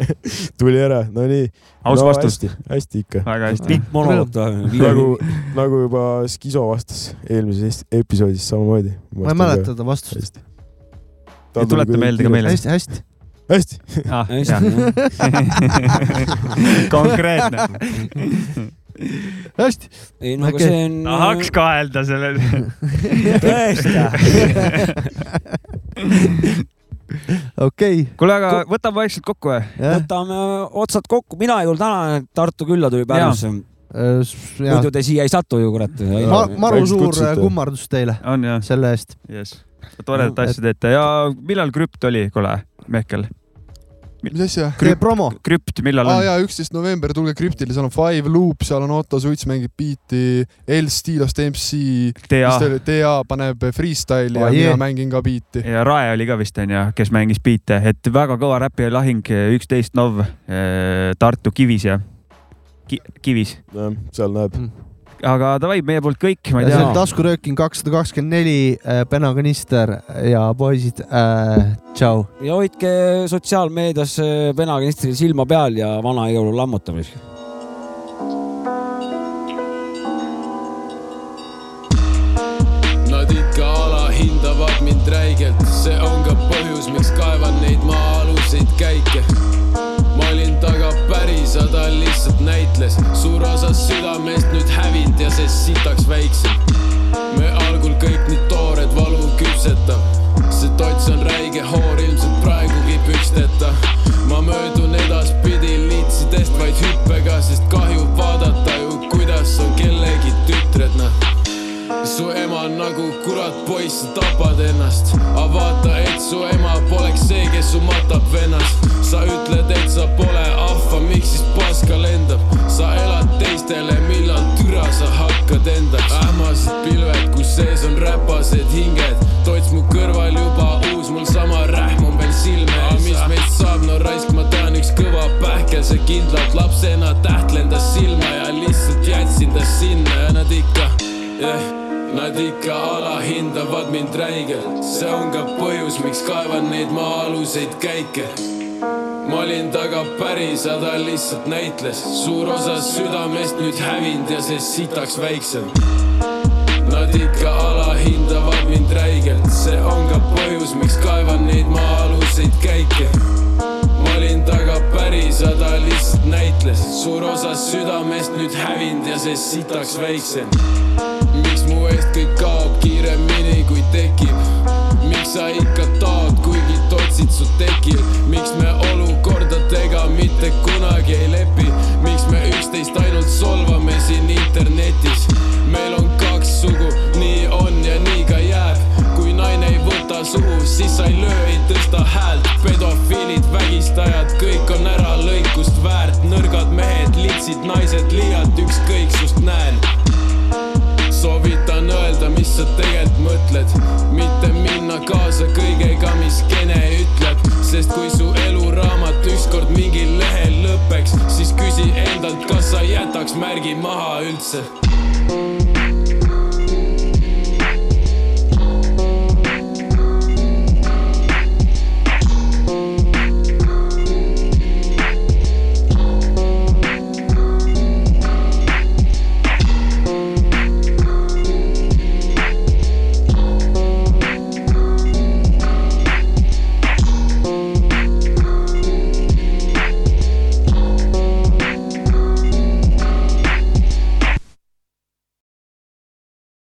tuli ära , no nii .
Aus
no,
vastus.
hästi, hästi ikka .
väga hästi .
Äh,
monoloog tuleb .
nagu , nagu juba Skiso vastas eelmises est- episoodis samamoodi .
ma ei mäleta . seda vastust .
ja tuleta meelde ka meile .
hästi , hästi .
nagu hästi ,
Ah, konkreetne .
Mm.
hästi .
ei no aga see on .
tahaks kaelda selle .
tõesti .
okei ,
kuule , aga võtame vaikselt kokku või ?
jah . Äh,
võtame otsad kokku , mina ei olnud täna , Tartu külla tuli Pärnusse , muidu te siia ei satu ju kurat .
maru
Väikest
suur
kutsute.
äh, kummardus teile
on jah ,
selle eest .
jess . toredat asja teete ja millal krüpt oli , kuule , Mehkel ?
mis asja ?
tee promo .
krüpt , millal
aa
on ?
jaa , üksteist november , tulge krüptile , seal on Five Loop , seal on Otto Suits mängib biiti , El Stilost MC ,
TA
mis ta oli , TA paneb freestyle'i ja
Oi,
mina
jee.
mängin ka biiti .
ja Rae oli ka vist onju , kes mängis biite , et väga kõva räpi lahing , üksteist nov , Tartu Kivis ja Ki, Kivis ,
seal näeb .
aga davai , meie poolt kõik , Mm. ma
ja
ei
see
tea
on . taskurööking kakssada kakskümmend neli , penaganister ja poisid äh, , tšau .
ja hoidke sotsiaalmeedias äh, penakanistril silma peal ja vana jõulu lammutamisel .
Nad ikka alahindavad mind räigelt , see on ka põhjus , miks kaevan neid maa-aluseid käike . ma olin taga päris , aga ta lihtsalt näitles , suur osa südamest nüüd hävinud ja see sitaks väiksem . me algul kõik nii toored valu küpsetab , see tots on räige hoor , ilmselt praegugi püksteta . ma möödun edaspidi liitsidest vaid hüppega , sest kahju vaadata ju , kuidas on kellegi tütred , noh su ema on nagu kurat poiss , sa tapad ennast , aga vaata , et su ema poleks see , kes su matab vennast . sa ütled , et sa pole ahva , miks siis paska lendab , sa elad teistele , millal türa sa hakkad endaks . ähmased pilved , kus sees on räpased hinged , tots mu kõrval juba uus , mul sama rähm on veel silme ees . mis meist saab , no raisk , ma tean , üks kõva pähkel , see kindlalt lapsena tähtlendas silma ja lihtsalt jätsin ta sinna ja nad ikka jah , nad ikka alahindavad mind räigelt , see on ka põhjus , miks kaevan neid maa-aluseid käike . ma olin taga päris , aga ta lihtsalt näitles , suur osa südamest nüüd hävinud ja see sitaks väiksem . Nad ikka alahindavad mind räigelt , see on ka põhjus , miks kaevan neid maa-aluseid käike ma olin taga päris , aga ta lihtsalt näitles , suur osa südamest nüüd hävinud ja see sitaks väiksem . miks mu eest kõik kaob kiiremini , kui tekib ? miks sa ikka taod , kuigi totsid su tekil ? miks me olukordadega mitte kunagi ei lepi ? miks me üksteist ainult solvame siin internetis ? meil on kaks sugu , nii on ja nii ka jääb . kui naine ei võta suhu , siis sa ei löö , ei tõsta häält . pedofiilid , vägistajad , kõik on ära lõikust väärt . nõrgad mehed , litsid naised , liialt ükskõiksust näen soovitan öelda , mis sa tegelikult mõtled , mitte minna kaasa kõigega , mis kene ütleb , sest kui su eluraamat ükskord mingil lehel lõpeks , siis küsi endalt , kas sa jätaks märgi maha üldse